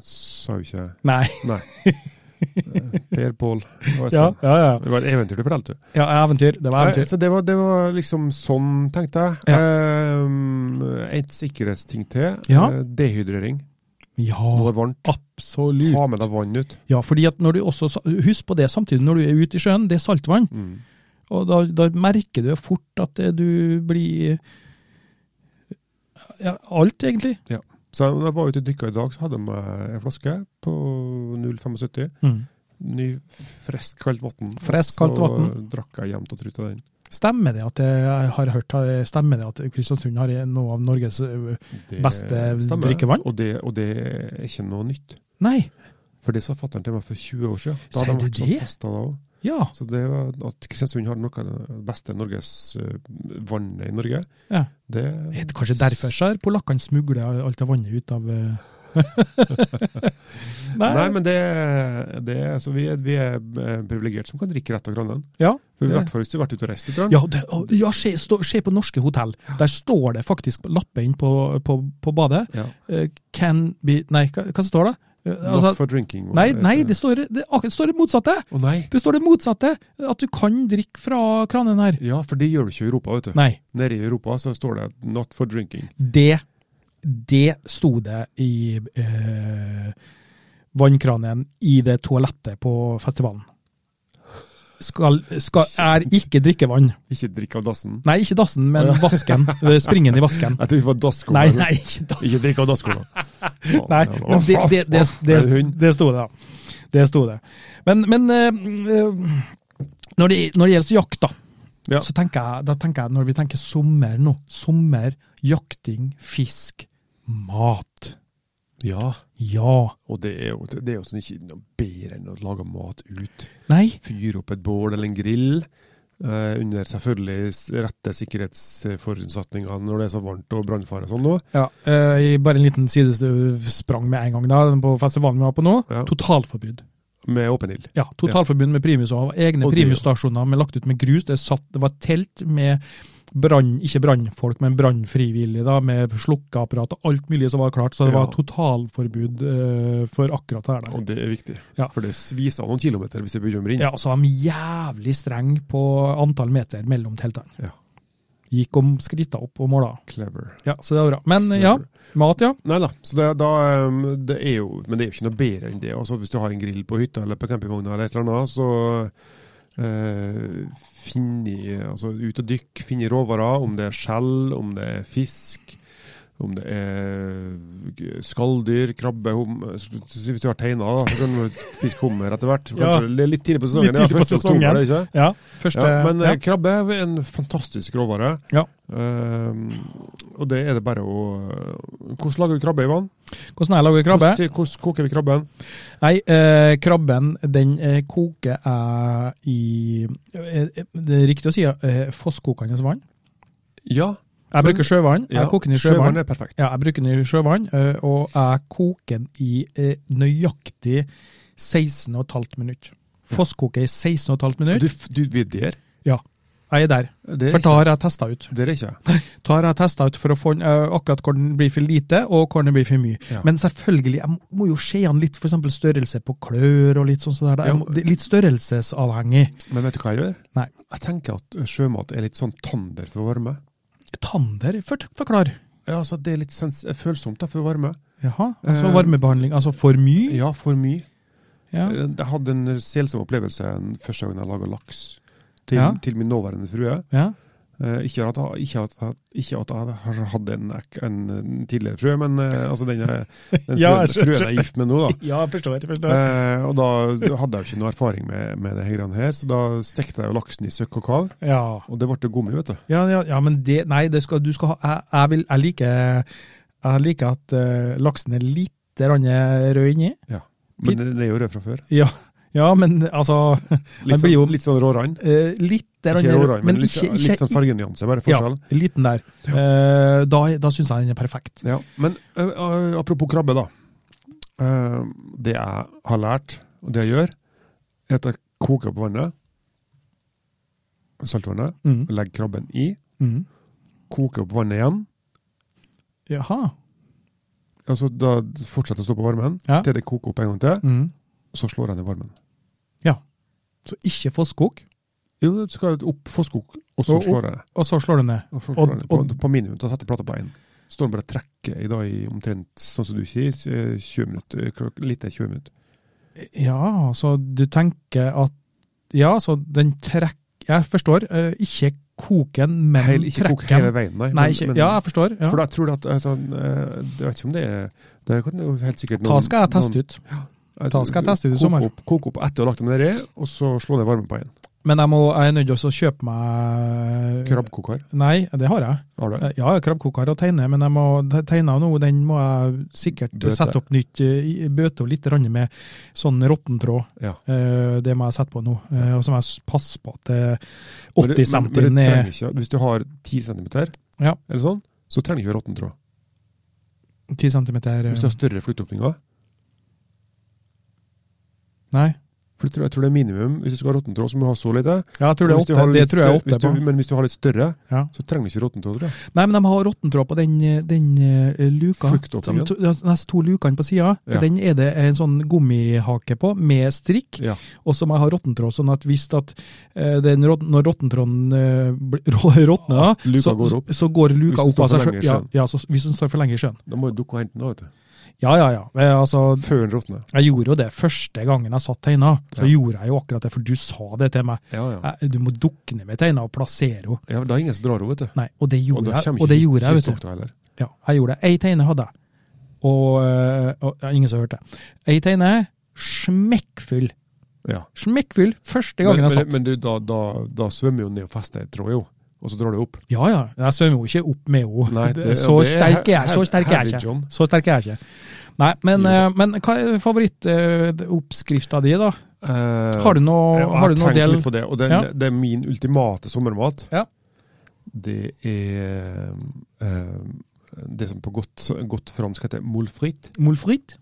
Sa jo ikke jeg.
Nei.
Per Pål og Espen.
Ja, ja, ja.
Det var et eventyr du fortalte. du.
ja eventyr. Det var
Nei,
eventyr.
Så det var, det var liksom sånn, tenkte jeg.
Ja.
Ehm, et sikkerhetsting til.
Ja.
Eh, Dehydrering. Når
Ja,
det er varmt,
absolutt.
ha med deg vann ut.
Ja, fordi at når du også, Husk på det samtidig når du er ute i sjøen, det er saltvann.
Mm.
Og da, da merker du fort at eh, du blir ja, Alt, egentlig.
Så når jeg var ute og dykka i dag, så hadde jeg med en flaske på 0,75. Ny frisk kaldt vann.
Frisk kaldt
Så
vatten.
drakk jeg jevnt og trutt av den.
Stemmer det at jeg har hørt Stemmer det at Kristiansund har noe av Norges ø,
Det
Beste drikkevann?
Og det, og det er ikke noe nytt.
Nei!
For det sa fatter'n til meg for 20 år siden. Da
Sier du
hadde han vært
det?
sånn testa da òg.
Ja.
Så det var at Kristiansund har noe av det beste Norges eh, vannet i Norge.
Ja.
Det,
Det er kanskje derfor så har polakkene smugla alt av vannet ut av eh. Nei.
Nei, men det, det så vi er, vi er eh, privilegert som kan drikke rett av kranen.
Ja,
For I
det-
hvert fall hvis du har vært ute og reist litt.
ja, det, å, ja se, stå, se på norske hotell. Der står det faktisk lapper inn på, på, på badet.
Ja.
Eh, Can be Nei, hva, hva står det? Eh, altså-
Not for drinking.
Nei, nei det, står, det, akkurat står det motsatte!
Å nei!
Det står det motsatte! At du kan drikke fra kranen her.
Ja, for det gjør du ikke i Europa, vet du.
Nei.
Nede i Europa så står det 'not for drinking'.
Det, det sto det i eh, vannkranen i det toalettet på festivalen. Skal, skal, er ikke drikkevann.
Ikke drikk av dassen.
Nei, ikke dassen, men vasken. Springen i vasken.
Jeg tror det var dasskola.
Nei, nei, ikke dassen.
Ikke drikk av dasskola.
Nei, men det, det, det, det,
Er det
det,
hund?
sto det, da. Det sto det. Men, men eh, eh, når, det, når det gjelder jakt, da,
Ja.
så tenker jeg, da tenker jeg, når vi tenker sommer nå, sommer, jakting, fisk, mat.
Ja,
Ja.
og det er jo, det er jo sånn ikke noe bedre enn å lage mat ut.
Nei.
fyre opp et bål eller en grill. eh, under selvfølgelig s- rette sikkerhetsforutsetninger når det er så varmt og brannfare og sånn nå.
Ja, eh, jeg bare en liten sidesprang med en gang da, på festivalen vi var på nå.
Ja.
Totalforbud.
Med åpen ild.
Ja, totalforbud med primus og egne
Og det, ja.
primusstasjoner med lagt ut med grus. Det, satt, det var telt med brann, ikke brannfolk, men brannfrivillige da, med slukkeapparat og alt mulig som var klart. Så det
Ja.
var totalforbud eh, for akkurat det her der.
Og det er viktig,
Ja.
for det sviser av noen kilometer hvis det begynner å brenne.
Ja, så var de jævlig strenge på antall meter mellom teltene.
Ja.
Gikk om skritta opp og måla.
Clever.
Ja, så det var bra. Men ja, mat ja.
Nei da, så det, da, em, det er jo, men det er jo ikke noe bedre enn det. Altså, hvis du har en grill på hytta eller på campingvogna eller et eller annet, så eh, finn i, altså ut og dykk, finn i råvarer, om det er skjell, om det er fisk, om det er skalldyr, krabbe, hum, hvis du har teina, da, så kan du fiske hummer etter hvert.
Ja.
Kanskje Det er litt tidlig på sesongen,
Litt tidlig
ja,
på
1. oktober,
sesongen.
er det ikke?
Ja, første,
Ja, men eh,
ja.
krabbe er en fantastisk råvare.
Ja.
Ehm, og det er det bare å Hvordan lager vi krabbe i vann?
Hvordan jeg lager krabbe?
Hvordan, hvordan koker vi krabben?
Nei, eh, krabben den eh, koker jeg i eh, eh, Det er riktig å si eh, fosskokende vann.
Ja,
Jeg bruker sjøvann. Jeg
Ja,
koker den i sjøvann.
sjøvann er perfekt.
Ja, jeg bruker den i sjøvann, eh, og jeg koker den i eh, nøyaktig 16,5 minutter. Fosskoker i 16,5
Du,
minutter.
du vidder.
Ja, jeg er der.
Det er
For da
ikke
har jeg testa ut.
det. Er ikke.
Da har jeg testa ut for å få eh, akkurat hvor den blir for lite, og hvor den blir for mye.
Ja.
Men selvfølgelig, jeg må- må jo se an litt f.eks. størrelse på klør og litt sånn. sånn der. Jeg
Ja.
må, det er litt størrelsesavhengig.
Men vet du hva jeg gjør?
Nei.
Jeg tenker at sjømat er litt sånn tander for varme.
Tander, for, forklar.
Ja, altså Det er litt sens følsomt da, for varme.
Jaha, altså
Eh,
varmebehandling. Altså for mye?
Ja, for mye.
Ja.
Eh, Jeg hadde en selsom opplevelse den første gangen jeg laga laks til,
Ja.
til min nåværende frue.
ja.
Eh, ikke, at, jeg- ikke, at, jeg- ikke at jeg har hatt en, ek- en, en tidligere frue, men eh, altså den, jeg- den
Ja,
fruen,
jeg skjønner.
fruen jeg er gift med nå, da.
Ja, jeg forstår. Jeg forstår.
Eh, og da hadde jeg jo ikke noe erfaring med, med det her greiene her, så da stekte jeg jo laksen i søkk og kav,
Ja.
og det ble det gummi, vet du.
Ja, ja, ja men det Nei, det skal, du skal ha Jeg, jeg, vil, jeg, liker, jeg liker at eh, laksen er litt grann rød inni.
Men den er jo rød fra før.
Ja, ja, men altså
Litt
Den blir
sånn,
jo-
litt sånn rårann.
eh, Litt grann
Ikke
rød,
rårann, men litt, litt sånn fargenyanse, bare
Ja,
forskjell.
liten der. Eh, da da syns jeg den er perfekt.
Ja. Men ø, ø, apropos krabbe, da. Eh, det jeg har lært, og det jeg gjør, er at jeg koker på vannet, saltvannet,
Mm.
og legger krabben i,
Mm.
koker opp vannet igjen,
Jaha.
og så Altså, da fortsetter jeg å stå på varmen,
Ja.
til det koker opp en gang til,
Mm.
så slår jeg ned varmen.
Så ikke fosskok,
Jo, du skal opp fosskok, og så
Og opp.
slår jeg det.
og så slår du ned.
Og så
Og-
slår jeg det på,
og-
på minimum, da setter jeg plata på én. Står den bare og trekker i, da, i omtrent, sånn som du sier, s- eh, 20 minutter, klok- lite 20 minutter.
Ja, så du tenker at Ja, så den trekker Jeg forstår. eh, ikke koken, men
Heil, ikke kok hele
trekken.
veien, nei.
Nei,
men-
ikke,
men-
ja, jeg forstår. Ja.
For da tror du at altså, eh, Jeg vet ikke om det er Det kan jo helt sikkert altså,
Ta skal jeg teste ut. ta skal jeg teste ut i
Koke
sommer.
Opp, koke opp etter å ha lagt den nedi, og så slå ned varmen på en.
Men jeg, må, jeg er nødt til å kjøpe meg
Krabbkoker.
Nei, det har jeg.
Har du?
Eh, Ja, krabbkoker og tegne, men jeg må te- tegne nå, den må jeg sikkert
Bøte.
sette opp nytt. eh, i- Bøte og litt grann med sånn råttentråd.
Ja.
Eh, Det må jeg sette på nå. Eh, Og så må jeg s- passe på at eh,
Men
80
du- men- men
cm
du trenger
er
ikke- Hvis du har 10 cm,
Ja.
eller sånn, så trenger du ikke råttentråd.
10 cm
Hvis du har større flyttåpninger
Nei.
For jeg tror, jeg tror det er minimum hvis du skal ha råttentråd, så må du ha så lite.
Ja, jeg tror det
Hvis
er
du har
8. Det
litt
tror jeg er
større- hvis
8
du,
på.
Men hvis du har litt større,
Ja.
så trenger du ikke råttentråd, tror jeg.
Nei, men de har råttentråd på den, eh, den eh, luka.
Fuktåpningen.
Som to- De neste to lukene på sida. For
Ja.
den er det en sånn gummihake på, med strikk.
Ja.
Og så må jeg ha råttentråd, sånn at hvis at eh, den, rot- når råttentråden eh, bl- rå- råtner,
At
så,
luka går opp.
så går luka
Hvis den
opp av seg
står for
sjøl.
lenge i
Ja,
sjøen.
ja, så hvis den står for lenge i sjøen.
Da må du dukke og hente den, da, vet du.
Ja, ja, ja. Eh, altså,
Før den råtner.
jeg gjorde jo det første gangen jeg satt teina. Så
Ja.
gjorde jeg jo akkurat det, for du sa det til meg.
Ja, ja.
Eh, Du må dukke ned med teina og plassere henne.
ja da er ingen som drar henne, vet du.
Nei, og det
Og
gjorde
da
jeg.
kommer
Og det
ikke
gjorde jeg, vet du.
kystokta heller.
Ja, jeg gjorde det. Ei teine hadde jeg. Og, øh, og ja, ingen som hørte det. Ei teine, smekkfull.
Ja.
Smekkfull første gangen
men,
jeg satt.
Men, men du, da, da, da svømmer jo den ned og fester et tråd, jo. Og så drar du opp.
Ja, ja. Jeg svømmer jo ikke opp med henne.
Nei, det-
Så
det er
sterk er jeg,
he-
så sterk er
heavy
jeg ikke.
John.
Så sterk er jeg ikke. Nei, men,
Jo da.
øh, men hva er favorittoppskrifta di, da? Har du
Jeg
noe, har du noe
tenkt
del
litt på det, og det,
Ja.
det er min ultimate sommermat.
Ja.
Det er eh, det som på godt, godt fransk heter moule frites.
Moules frites?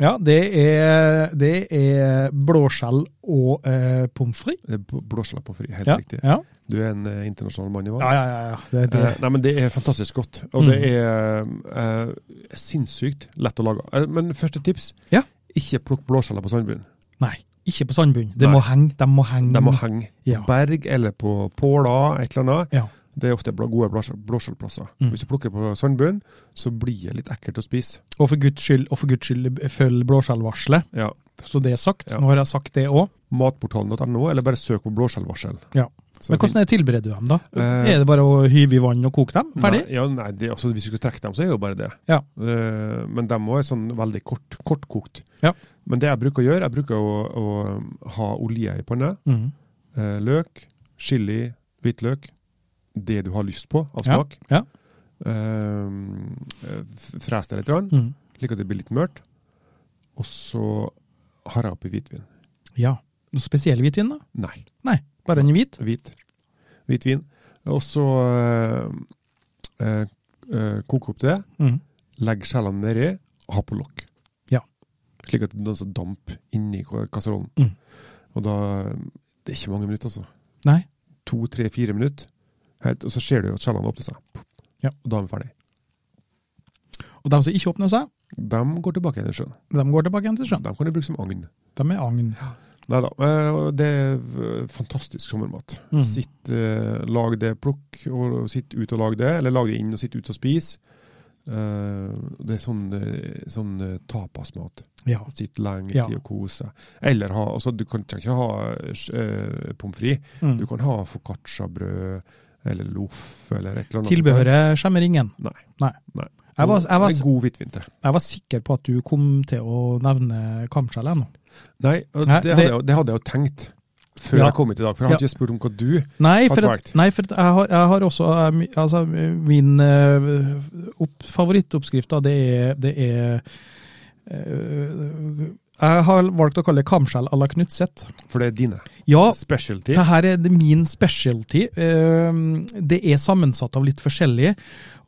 Ja, det er, det er blåskjell og øh, pommes frites.
Det er bl- Blåskjell på fri, helt
Ja,
riktig.
ja.
Du er en eh, internasjonal mann i
ja,
vann.
ja. ja, ja. Det, det.
Eh, nei, men Det er fantastisk godt, og
Mm.
det er eh, sinnssykt lett å lage. Eh, men første tips,
Ja.
ikke plukk blåskjeller på sandbunnen.
Nei, ikke på sandbunnen. Det
Nei.
må henge, de må henge.
De må henge
Ja.
på berg eller på påler, et eller annet.
Ja.
Det er ofte bla- gode blåskjell- blåskjellplasser.
Mm.
Hvis du plukker på sandbunnen, så blir det litt ekkelt å spise.
Og for guds skyld, og for guds skyld følg blåskjellvarselet,
Ja.
så det er sagt.
Ja.
Nå har jeg sagt det òg.
Matportalen.no, eller bare søk på blåskjellvarsel.
Ja.
Så
Men
fin-
hvordan er tilbereder du dem, da?
Eh,
er det bare å hyve i vann og koke dem? Ferdig?
Nei, ja, nei det, altså, hvis du skal trekke dem, så er det jo bare det.
Ja.
Eh, men de også er sånn veldig kort, kortkokt.
Ja.
Men det jeg bruker å gjøre, jeg bruker å, å ha olje i panne,
Mm.
eh, løk, chili, hvitløk, det du har lyst på av
Ja,
smak.
ja.
Eh, f- Fres det litt, grann,
Mm.
slik at det blir litt mørkt. Og så har jeg oppi hvitvin.
Ja. Noe spesiell hvitvin, da?
Nei,
Bare en hvit?
hvit. Hvitvin. Og så eh, eh, eh, koke opp det,
Mm.
legge skjellene nedi, ha på lokk.
Ja.
Slik at det danser damp inni ka- kasserollen.
Mm.
Og da Det er ikke mange minutter, altså.
Nei.
To, tre, fire minutter. Helt, og så ser du jo at skjellene åpner seg.
Ja.
Og da er vi ferdig.
Og de som ikke åpner seg,
De går tilbake igjen i sjøen.
de går tilbake igjen til sjøen.
De kan du bruke som agn.
De er agn.
Nei da. Det er eh, fantastisk sommermat.
Mm.
Sitt, eh, lag det, plukk og sitt ut og lag det, eller lag det inn og sitt ut og spis. Eh, det er sånn, eh, sånn eh, tapasmat.
Ja.
Sitt lenge
Ja.
tid og kose seg. Eller ha altså, Du kan trenger ikke ha uh, pommes frites.
Mm.
Du kan ha foccacciabrød eller loff eller et eller annet.
Tilbehøret skjemmer ingen.
Nei.
Nei.
Nei.
Jeg var, jeg, var,
En god hvitvin til.
jeg var sikker på at du kom til å nevne kamskjell ennå.
Nei, og
Nei,
det, hadde
det-
jeg, jo- det hadde jeg jo tenkt før
Ja.
jeg kom hit i dag. For jeg har ikke spurt om hva du
Nei,
Har
for,
du
at,
valgt?
nei, for at jeg, har, jeg har også eh, mi- altså, Min eh, opp, favorittoppskrift, da, det er, det er eh, Jeg har valgt å kalle det kamskjell à la Knutseth.
For det er dine.
Ja,
Specialty.
det her er det min specialty. Eh, Det er sammensatt av litt forskjellig.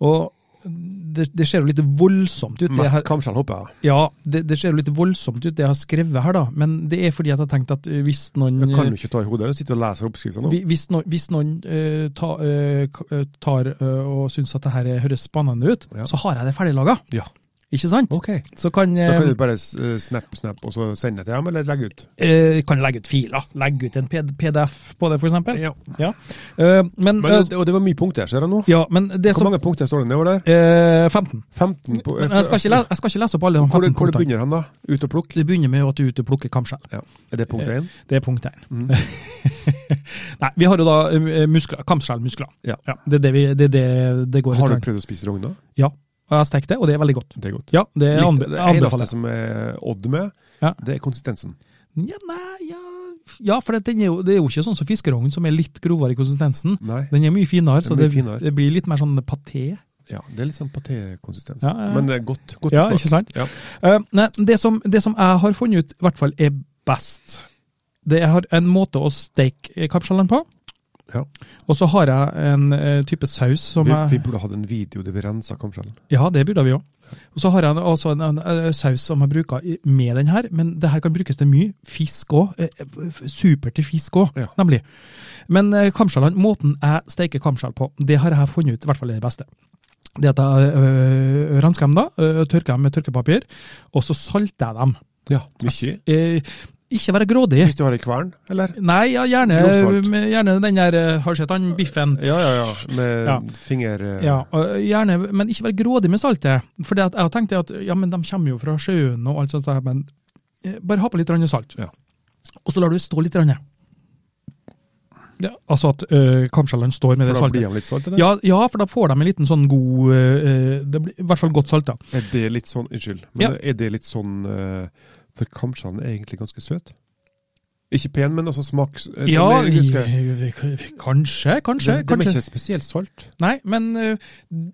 Og det, det ser jo litt voldsomt ut. det
Mest
her,
kamskjell, håper jeg.
ja, det, det ser jo litt voldsomt ut, det jeg har skrevet her, da. Men det er fordi at jeg har tenkt at eh, hvis noen
Jeg kan jo ikke ta i hodet. Du sitter og leser oppskriftene nå.
Hvi- Hvis noen, hvis noen eh, ta, eh, k- eh, tar eh, og syns at det her eh, høres spennende ut,
Ja.
så har jeg det ferdiglaga.
Ja.
Ikke sant?
Ok.
Så kan,
Da
eh,
kan du bare eh, snap, snap, og så sende det til dem, eller legge ut.
eh, kan legge ut filer. Legge ut en P- PDF på det, f.eks.
Ja.
Ja. Eh, men,
Men,
eh,
og det var mye punkter, ser jeg nå.
ja, men det
Hvor
som
mange punkter står det nedover der?
eh, 15.
15 på,
Men jeg skal, ikke le, jeg skal ikke lese opp alle de 15
Hvor, hvor det
punktene.
begynner han, da? Ut og plukk?
Det begynner med at du er ute og plukker kamskjell.
Er det punkt 1?
Det er punkt én.
Mm.
Nei, vi har jo da eh, muskler, kamskjellmuskler.
Ja.
det er det, vi, det, er det, det går
Har du
gang.
prøvd å spise rogna?
Ja, og jeg har stekt det, og det er veldig godt.
Det er godt.
Ja, det
Litt-
anbe
det
anbefaler
eneste
jeg.
som er odd med,
Ja.
det er konsistensen.
Ja, nei, ja. ja for det, den er jo, det er jo ikke sånn som fiskerogn, som er litt grovere i konsistensen.
Nei.
Den er mye finere, så
Den er
det,
mye finere.
det blir litt mer sånn paté.
Ja, det er litt sånn patékonsistens.
Ja, ja, ja.
Men det er godt. godt
Ja,
smak.
ikke sant?
Ja.
Eh, nei, det, som, det som jeg har funnet ut, i hvert fall er best, det er jeg har en måte å steke kapsjallene på.
Ja.
Og så har jeg en eh, type saus som
Vi, vi
jeg
burde hatt en video der vi rensa kamskjellen.
Ja, det burde vi òg. Og så har jeg en- også en, en, eh, saus som jeg bruker i- med den her, men det her kan brukes til mye. Fisk eh, òg. Super til fisk òg,
Ja.
nemlig. Men eh, kamskjellene, måten jeg steker kamskjell på, det har jeg funnet ut, i hvert fall det beste. Det at jeg øh, rensker dem da, øh, tørker dem med tørkepapir, og så salter jeg dem.
Ja, mye.
Eh, ikke være grådig.
Hvis du har ei kvern, eller?
Nei, ja, gjerne,
Grovsalt.
med- gjerne den der eh, Har du sett han biffen?
Ja, ja, ja. Med
Ja.
finger... eh,
Ja, og gjerne, men ikke være grådig med saltet. For det at jeg tenkte at ja, men de kommer jo fra sjøen og alt sånt, der, men eh, bare ha på litt grann salt.
Ja.
Og så lar du det stå litt. Grann. Ja, altså at øh, kamskjellene står med
For
det
da blir
saltet.
han litt salt, eller?
Ja, ja, for da får de en liten sånn god eh, Det blir i hvert fall godt salta.
Er det litt sånn Unnskyld. Men
Ja.
er det litt sånn eh, For kamskjellen er egentlig ganske søt. Ikke pen, men altså smaks... eh,
Ja,
den er ganske-
i- kanskje, kanskje.
Den, den er
kanskje.
ikke spesielt salt.
Nei, men øh,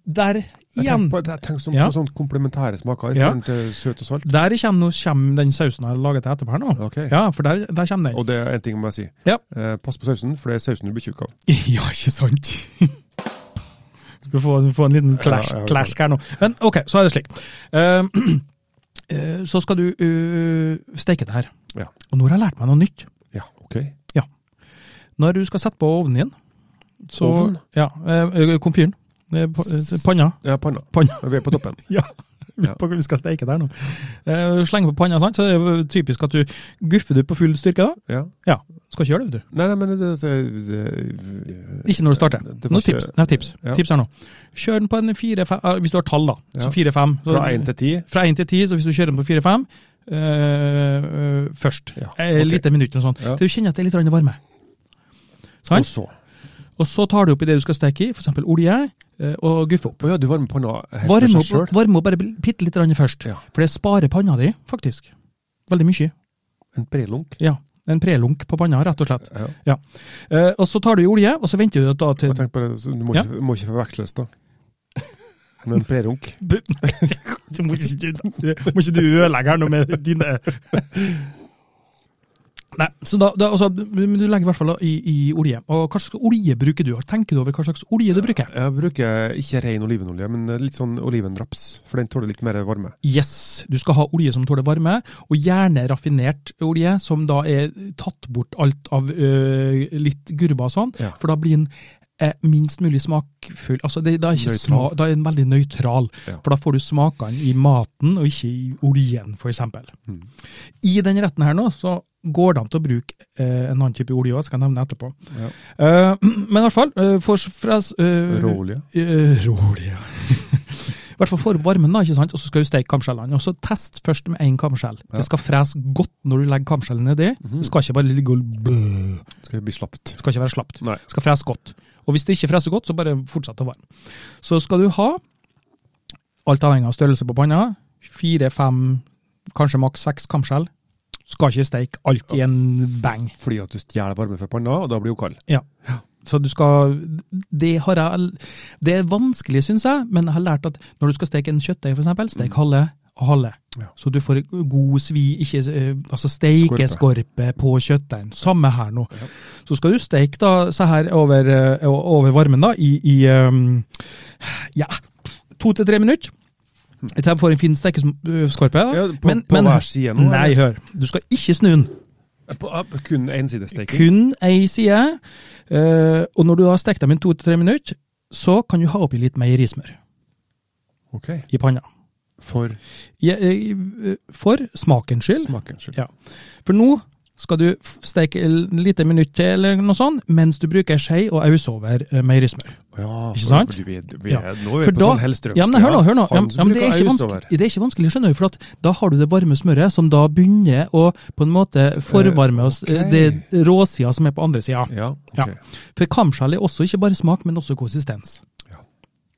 der
Jeg
igjen.
tenker, på, jeg tenker sånn,
Ja.
på sånn komplementære smaker i
Ja.
forhold til søt og salt.
Der kommer, nå- kommer den sausen jeg har laget til etterpå her nå.
Ok.
Ja, for der, der kommer den.
Og det er en ting jeg må si.
Ja.
Eh, pass på sausen, for det er sausen du blir tjukk av.
Ja, ikke sant? Skal få, få en liten clash,
Ja, ja, ja.
clash her nå. Men ok, så er det slik. Eh, eh, så skal du eh, steke det her.
Ja.
Og nå har jeg lært meg noe nytt.
Ja, ok.
Når du skal sette på ovnen igjen, så
Ovnen?
Ja, eh, komfyren. Eh, pa- eh, Panna.
Ja, panna.
Panna.
Vi er på toppen.
Ja. Vi
Ja.
på- vi skal steike der nå. Eh, Slenge på panna, sant? så det er jo typisk at du guffer du på full styrke da.
Ja.
Ja, skal ikke gjøre det, vet du.
Nei, nei, men det, det, det,
Ikke når du starter.
Det var
Noen
ikke-
tips. Nei, tips.
Ja.
tips her nå. Kjør den på en fire-fem, hvis du har tall, da.
Ja.
Så fire-fem. Så-
Fra én til ti.
Fra én til ti, så hvis du kjører den på fire-fem øh, øh, først.
Ja,
Eh,
ok.
Lite minutt eller noe sånt.
Ja.
Til du kjenner at det er litt grann varme.
Og
Sant?
så.
Og så tar du oppi det du skal steke i, f.eks. olje, eh, og guffe opp.
Å ja, du varmer panna helt for
Varme
seg
opp,
selv.
varme opp bare bitte litt grann først.
Ja.
For det sparer panna di, faktisk. Veldig mye.
En brelunk.
Ja. En prelunk på panna, rett og slett.
Ja.
Eh, og så tar du i olje, og så venter du da til
Jeg tenker på det, så du må,
Ja.
ikke, må ikke forveksles da. Med en prerunk.
Du, så må, ikke, du- må ikke du ødelegge her nå med dine eh. Nei, så da, da altså, men Du legger i hvert fall i, i olje. Og hva slags olje bruker du? Tenker du over hva slags olje du bruker?
Jeg bruker ikke ren olivenolje, men litt sånn olivenraps, for den tåler litt mer varme.
Yes, du skal ha olje som tåler varme, og gjerne raffinert olje, som da er tatt bort alt av ø, litt gurba og sånn,
Ja.
for da blir den eh, minst mulig smakfull. Altså, det, da, er ikke
Nøytral.
sma- da er den veldig nøytral,
Ja.
for da får du smakene i maten, og ikke i oljen, for eksempel.
Mm.
I den retten her nå, så går det an til å bruke eh, en annen type olje òg, skal jeg nevne etterpå.
Ja.
Eh, men i hvert fall, eh, for, fra, eh,
Råolje.
Eh, Rolig, ja. I hvert fall får opp varmen, da, ikke sant? og så skal du steke kamskjellene. Og så Test først med én kamskjell. Det skal frese godt når du legger kamskjellen nedi. Det skal ikke bare ligge og blø.
Skal vi bli slapt?
Det skal ikke være slapt.
Nei.
Det skal frese godt. Og hvis det ikke freser godt, så bare fortsett å varme. Så skal du ha, alt avhengig av størrelse på panna, fire, fem, kanskje maks seks kamskjell. Skal ikke steke alt i en bang.
Fordi at du stjeler varme fra panna, og da blir hun kald.
Så du skal Det, har jeg, det er vanskelig, syns jeg, men jeg har lært at når du skal steke en kjøttdeig, f.eks., stek halve og halve.
Mm. Ja.
Så du får god svi, ikke eh, altså steikeskorpe på kjøttdeigen. Samme her nå. Så skal du steke da, så her over, eh, over varmen da, i, i ehm, ja, to til tre minutter. Til de får en fin stekeskorpe. da.
Mm. Ja, på- på hver side nå,
Nei, hør. Du skal ikke snu den.
Kun ensidesteking.
Kun ei side. Eh, og når du har stekt dem i to til tre minutter, så kan du ha oppi litt meierismør
Ok.
i panna.
For
Ja, eh, For smakens skyld.
smakens skyld.
Ja. For nå skal du f- steke et lite minutt til, eller noe sånt, mens du bruker skei og aus over eh, meierismør.
Ja,
Ikke
for
sant?
Vi, vi, vi,
Ja.
Nå er
For
vi på
da-
sånn Hellstrøm.
Ja, men hør nå, hør nå. Ja,
Han
men- ja,
som
men det, er
bruker
ikke
øyestover.
vanskelig- det er ikke vanskelig, skjønner du, for at da har du det varme smøret som da begynner å på en måte forvarme oss,
Eh, ok.
det råsida som er på andre sida.
Ja, ok.
Ja. For kamskjell er også ikke bare smak, men også konsistens.
Ja.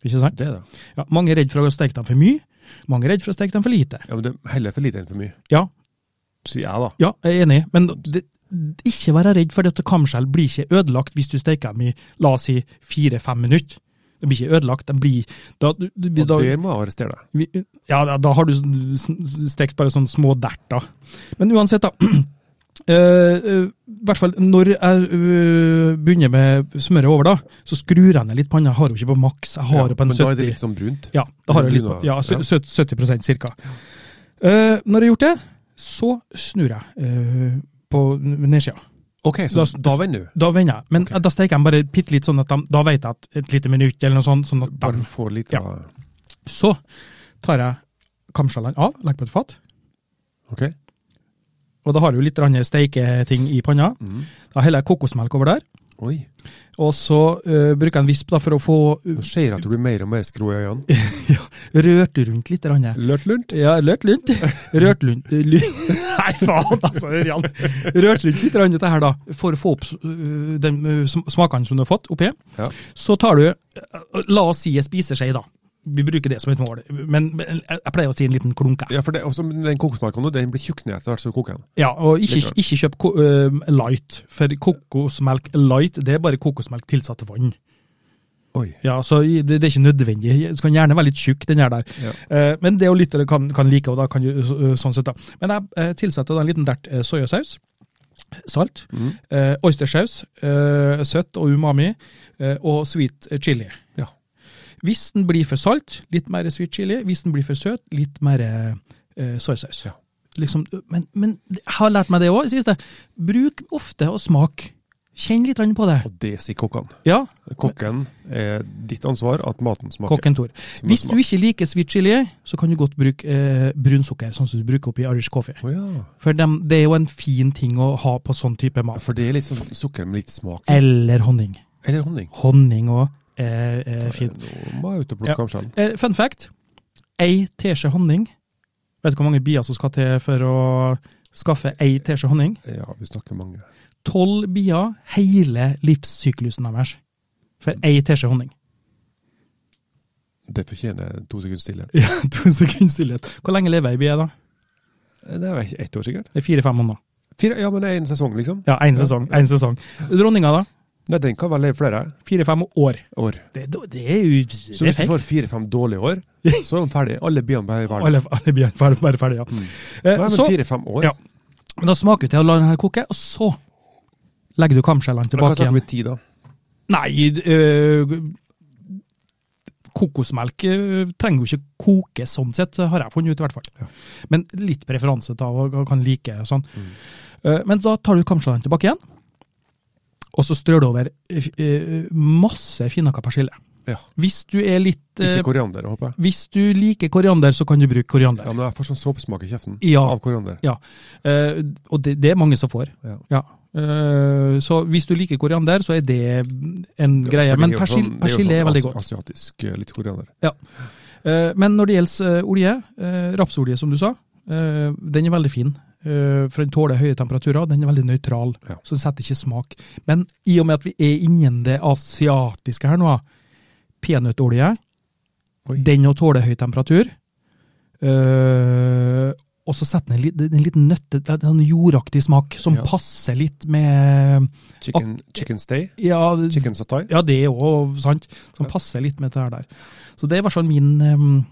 Ikke sant?
Det er det.
Ja, mange er redd for å steke dem for mye, mange er redd for å steke dem for lite.
Ja, men det er heller for lite enn for mye,
Ja,
sier jeg da.
ja jeg er enig, men det, ikke være redd for at kamskjell blir ikke ødelagt hvis du steker dem i, la oss si, fire-fem minutter. De blir ikke ødelagt, de blir da, du- vi-
Og
da,
der må jeg arrestere deg.
vi, ja, da- da har du s- s- stekt bare sånne små derter. Men uansett, da. eh, eh, I hvert fall når jeg eh, begynner med smøret over, da, så skrur jeg ned litt panna. Jeg har jo ikke på maks, jeg har
Ja,
jo på en
men da er det
70
litt sånn brunt.
Ja, da har jeg litt,
Brun, da.
ja, sø-
Ja.
sø- 70 cirka. Eh, når jeg har gjort det, så snur jeg eh, på nedsida.
Ok, så
Da-
da, vender du.
Da vender jeg, men
Ok.
da steker jeg dem bare bitte litt, sånn at de, da vet jeg at et lite minutt eller noe sånt. Sånn at
Bare
de,
få litt
Ja.
av
så tar jeg kamskjellene av, legger på et fat,
Ok?
og da har jeg jo litt grann steiketing i panna.
Mm.
Da heller jeg kokosmelk over der,
Oi.
og så eh, bruker jeg en visp da for å få
Nå ser jeg at du blir mer og mer skrå i øynene.
rørt rundt litt. Grann.
Lørt lunt?
Ja, lørt lunt. Rørt lunt. lu- Nei, faen, altså, Ørjan. Rørt lunt litt grann dette her, da, for å få opp øh, den øh, sm- smakene som du har fått oppi.
Ja.
Så tar du, øh, la oss si en spiseskje, da. Vi bruker det som et mål, men men jeg jeg pleier å si en liten klunk. jeg.
Ja, for det, også, men den kokosmelka nå, den blir tjukk ned etter hvert som du koker den.
Ja, og ikke,
Litt
ikke kjøp ko- øh, light, for kokosmelk light, det er bare kokosmelk tilsatt vann.
Oi.
Ja, så i- det, det er ikke nødvendig. Du kan gjerne være litt tjukk, den her der.
Ja.
Eh, men det er jo litt du kan, kan like, og da kan du så- sånn sett da. Men jeg eh, tilsetter da en liten dert eh, soyasaus, salt,
Mhm.
eh, oystersaus, eh, søtt og umami, eh, og sweet chili.
Ja.
Hvis den blir for salt, litt mer sweet chili. Hvis den blir for søt, litt mer eh, soyasaus.
Ja.
Liksom, men, men jeg har lært meg det òg, siste. Bruk ofte og smak. Kjenn litt grann på det.
Og det sier kokkene.
Ja,
Kokken er ditt ansvar at maten smaker.
Kokken Tor.
Som
Hvis
smak-
du ikke liker sweet chili, så kan du godt bruke eh, brunsukker, sånn som du bruker oppi Irish coffee.
Å ja.
For dem, det er jo en fin ting å ha på sånn type
Ja,
mat.
For det er litt sånn sukker med litt smak.
Eller honning.
Eller honning.
Honning òg Eh, er eh, fint.
Nå må jeg ut
Ja.
og plukke kamskjell.
Eh, fun fact. Ei teskje honning Vet du hvor mange bier som skal til for å skaffe ei teskje honning?
Ja, vi snakker mange.
Tolv bier hele livssyklusen deres for ei teskje honning.
Det fortjener to sekunds stillhet.
Ja, to sekunder stillhet. Hvor lenge lever ei bie, da?
Det er vel ett år sikkert.
Det Eh, er Fire-fem måneder.
Fire, ja, men det er en sesong, liksom.
Ja, én sesong. En sesong. Dronninga, da?
Nei, den kan vel leve flere
Fire-fem år.
år.
Det, det er jo
Så hvis du får fire-fem dårlige år, så er de ferdige. Alle biene bare i verden.
Alle, alle bjørn bare, bare ferdig, ja.
Mm.
Eh,
Nei, men
så,
fire-fem år.
Ja. Men da smaker du til å la den her koke, og så legger du kamskjellene
Men Hva
tilbake
snakker
igjen.
vi tid, da?
Nei, øh, kokosmelk øh, trenger jo ikke koke sånn sett, har jeg funnet ut i hvert fall. Men litt preferanse til hva kan like og sånn.
Mm.
Eh, Men da tar du kamskjellene tilbake igjen, og så strør du over eh, eh, masse finhakka persille.
Ja.
Hvis du er litt eh,
Ikke koriander, håper jeg.
Hvis du liker koriander, så kan du bruke koriander.
Ja, men jeg får sånn såpesmak i kjeften
Ja.
av koriander.
Eh, og det, det er mange som får.
Ja.
Eh, så hvis du liker koriander, så er det en
Ja,
greie.
for
Men
det er jo
persil,
sånn- det jo
persille er
sånn
veldig
as-
godt.
Asiatisk, eh, litt koriander.
Eh, Men når det gjelder eh, olje, eh, rapsolje som du sa, eh, den er veldig fin. eh, For den tåler høye temperaturer, den er veldig nøytral,
Ja.
så den setter ikke smak. Men i og med at vi er innen det asiatiske her nå, peanøttolje,
Oi.
den òg tåler høy temperatur. eh, Og så setter den en litt- den en liten nøtte, en jordaktig smak, som
Ja.
passer litt med
Chicken, chicken stay?
Ja,
Chicken satay?
ja, det òg, sant. Som
Ja.
passer litt med det her der. Så det er i hvert fall min, em,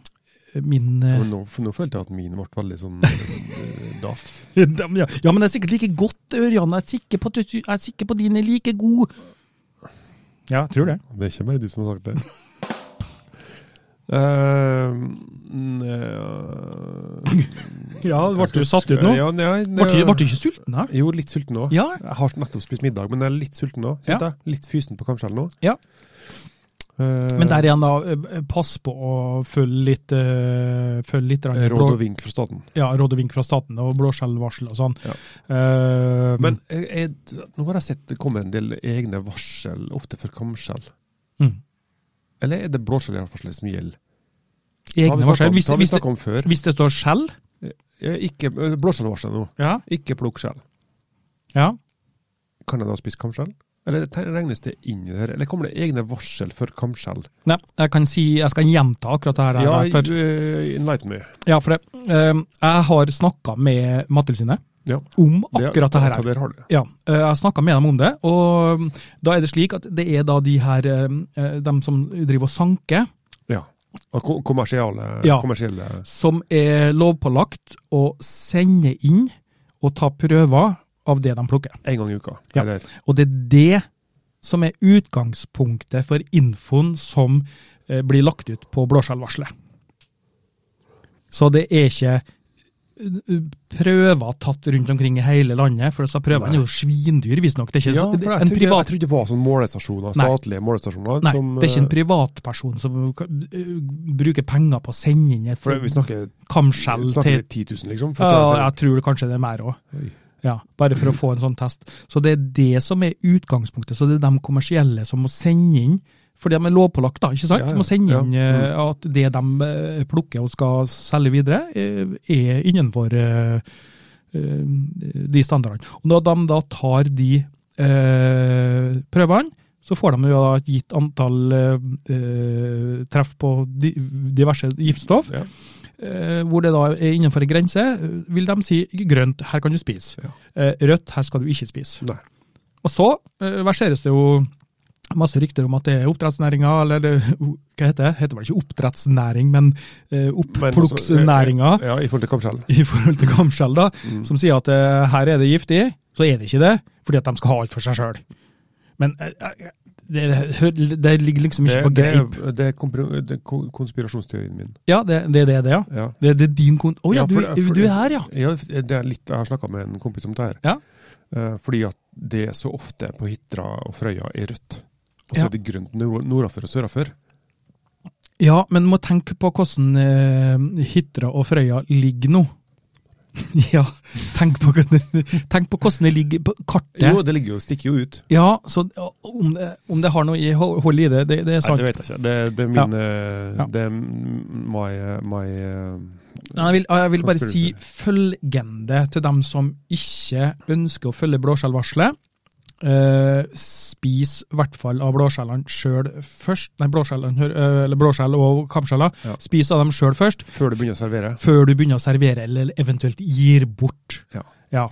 min eh,
Men nå, for nå følte jeg at min ble veldig sånn eh, daff.
Dem, Ja, ja, men det er sikkert like godt, Ørjan. Jeg er sikker på at, du- jeg er sikker på at din er like god. Ja, jeg tror det.
Det er ikke bare du som har sagt det. Eh, n- eh,
Ja,
hva
ble
skal
du
jeg
satt
sk-
ut nå?
Ja, nei, nei,
Ble du ble du ikke sulten, da?
Jo, litt sulten nå.
Ja.
Jeg har nettopp spist middag, men jeg er litt sulten nå.
Ja.
kjente jeg. Litt fysen på kamskjellen nå.
Ja.
Eh,
Men der igjen, da. eh, Pass på å følge litt eh, følge litt grann
Råd og
blå-
vink fra staten.
ja, råd og vink fra staten og blåskjellvarsel og sånn.
Ja.
Eh,
Men jeg, jeg, nå har jeg sett det komme en del egne varsel, ofte for kamskjell.
mm.
Eller er det blåskjellvarsel som gjelder? Det har
Egne
vi snakket
varsel.
om-
Hvis,
det har vi
hvis, det,
snakket om før.
hvis det står skjell,
Eh, Ikke eh, blåskjellvarsel nå.
ja,
Ikke plukk skjell.
ja.
Kan jeg da spise kamskjell? Eller te- regnes det inn i det her? Eller kommer det egne varsel for kamskjell?
Nei, jeg kan si Jeg skal gjenta akkurat det her.
Ja,
da, for,
eh, enlighten me.
ja, for det, eh, jeg har snakka med Mattilsynet
Ja.
om akkurat det her.
Så der har du det.
Ja, eh, jeg snakka med dem om det, og mm, da er det slik at det er da de her eh, eh, dem som driver og sanker,
Ja. Og ko- kommersielle,
Ja.
kommersielle
som er lovpålagt å sende inn og ta prøver av det de plukker.
en gang i uka.
Ja.
Eller
Og det er det som er utgangspunktet for infoen som eh, blir lagt ut på blåskjellvarselet. Så det er ikke eh, prøver tatt rundt omkring i hele landet, for disse prøvene
Nei.
er jo svindyr, visstnok. Det er ikke
Ja, for jeg
så-
trodde,
en privat
jeg trodde det var sånn målestasjoner,
Nei.
statlige målestasjoner.
Nei,
som,
det er ikke en
eh,
privatperson som kan- øh, bruker penger på å sende inn et
eh, For vi snakker,
kamskjell
vi snakker
til
10 000, liksom. For
ja,
å ta-
Jeg tror det kanskje det er mer òg.
Oi.
Ja, bare for å få en sånn test. Så det er det som er utgangspunktet. Så det er de kommersielle som må sende inn, for de er lovpålagt, da, ikke sant?
Ja, ja,
De må sende
ja. Mm.
inn eh, at det de eh, plukker og skal selge videre, eh, er innenfor eh, eh, de standardene. Og når de da tar de eh, prøvene, så får de jo da et gitt antall eh, eh, treff på di diverse giftstoff,
Ja.
eh, hvor det da er innenfor en grense, eh, vil de si grønt, her kan du spise. Eh, rødt, her skal du ikke spise.
Nei.
Og så eh, verseres det jo masse rykter om at det er oppdrettsnæringa, eller det, hva heter det? Heter vel ikke oppdrettsnæring, men eh,
Men altså,
opppluksnæringa
Ja, Mm. i forhold til kamskjell.
i forhold til kamskjell, da, som sier at eh, her er det giftig, så er det ikke det, fordi at de skal ha alt for seg sjøl. Men eh, eh, det, hø- det ligger liksom
Det,
ikke på
det,
greip.
er- det er kompro- det er ko- konspirasjonsteorien min.
Ja, det det er det, det, ja.
Ja.
Det, det er din kon... Å ja,
Ja,
du,
for- for-
du er her, ja.
Ja, det er litt, jeg har snakka med en kompis om det her.
Ja.
Eh, fordi at det er så ofte på Hitra og Frøya er rødt. Og så
Ja.
er det grønt nord- nordafor og sørafor.
Ja, men må tenke på hvordan eh, Hitra og Frøya ligger nå. ja, tenk på, hvordan- tenk på hvordan det ligger på kartet.
Jo, det ligger jo, stikker jo ut.
Ja, så ja, om det, om det har noe i- hold i det, det, det er sant.
Nei, det vet jeg ikke. Det, det er
Ja.
min eh,
Ja.
Det er my, my eh,
Nei, Jeg vil, jeg vil bare si
Konspirasjon.
følgende til dem som ikke ønsker å følge blåskjellvarselet. Eh, spis i hvert fall av blåskjellene sjøl først. Nei, blåskjellene, hø- eh, eller blåskjell og kamskjeller.
Ja.
Spis av dem sjøl først,
Før du begynner å servere.
før du begynner å servere eller eventuelt gir bort.
Ja.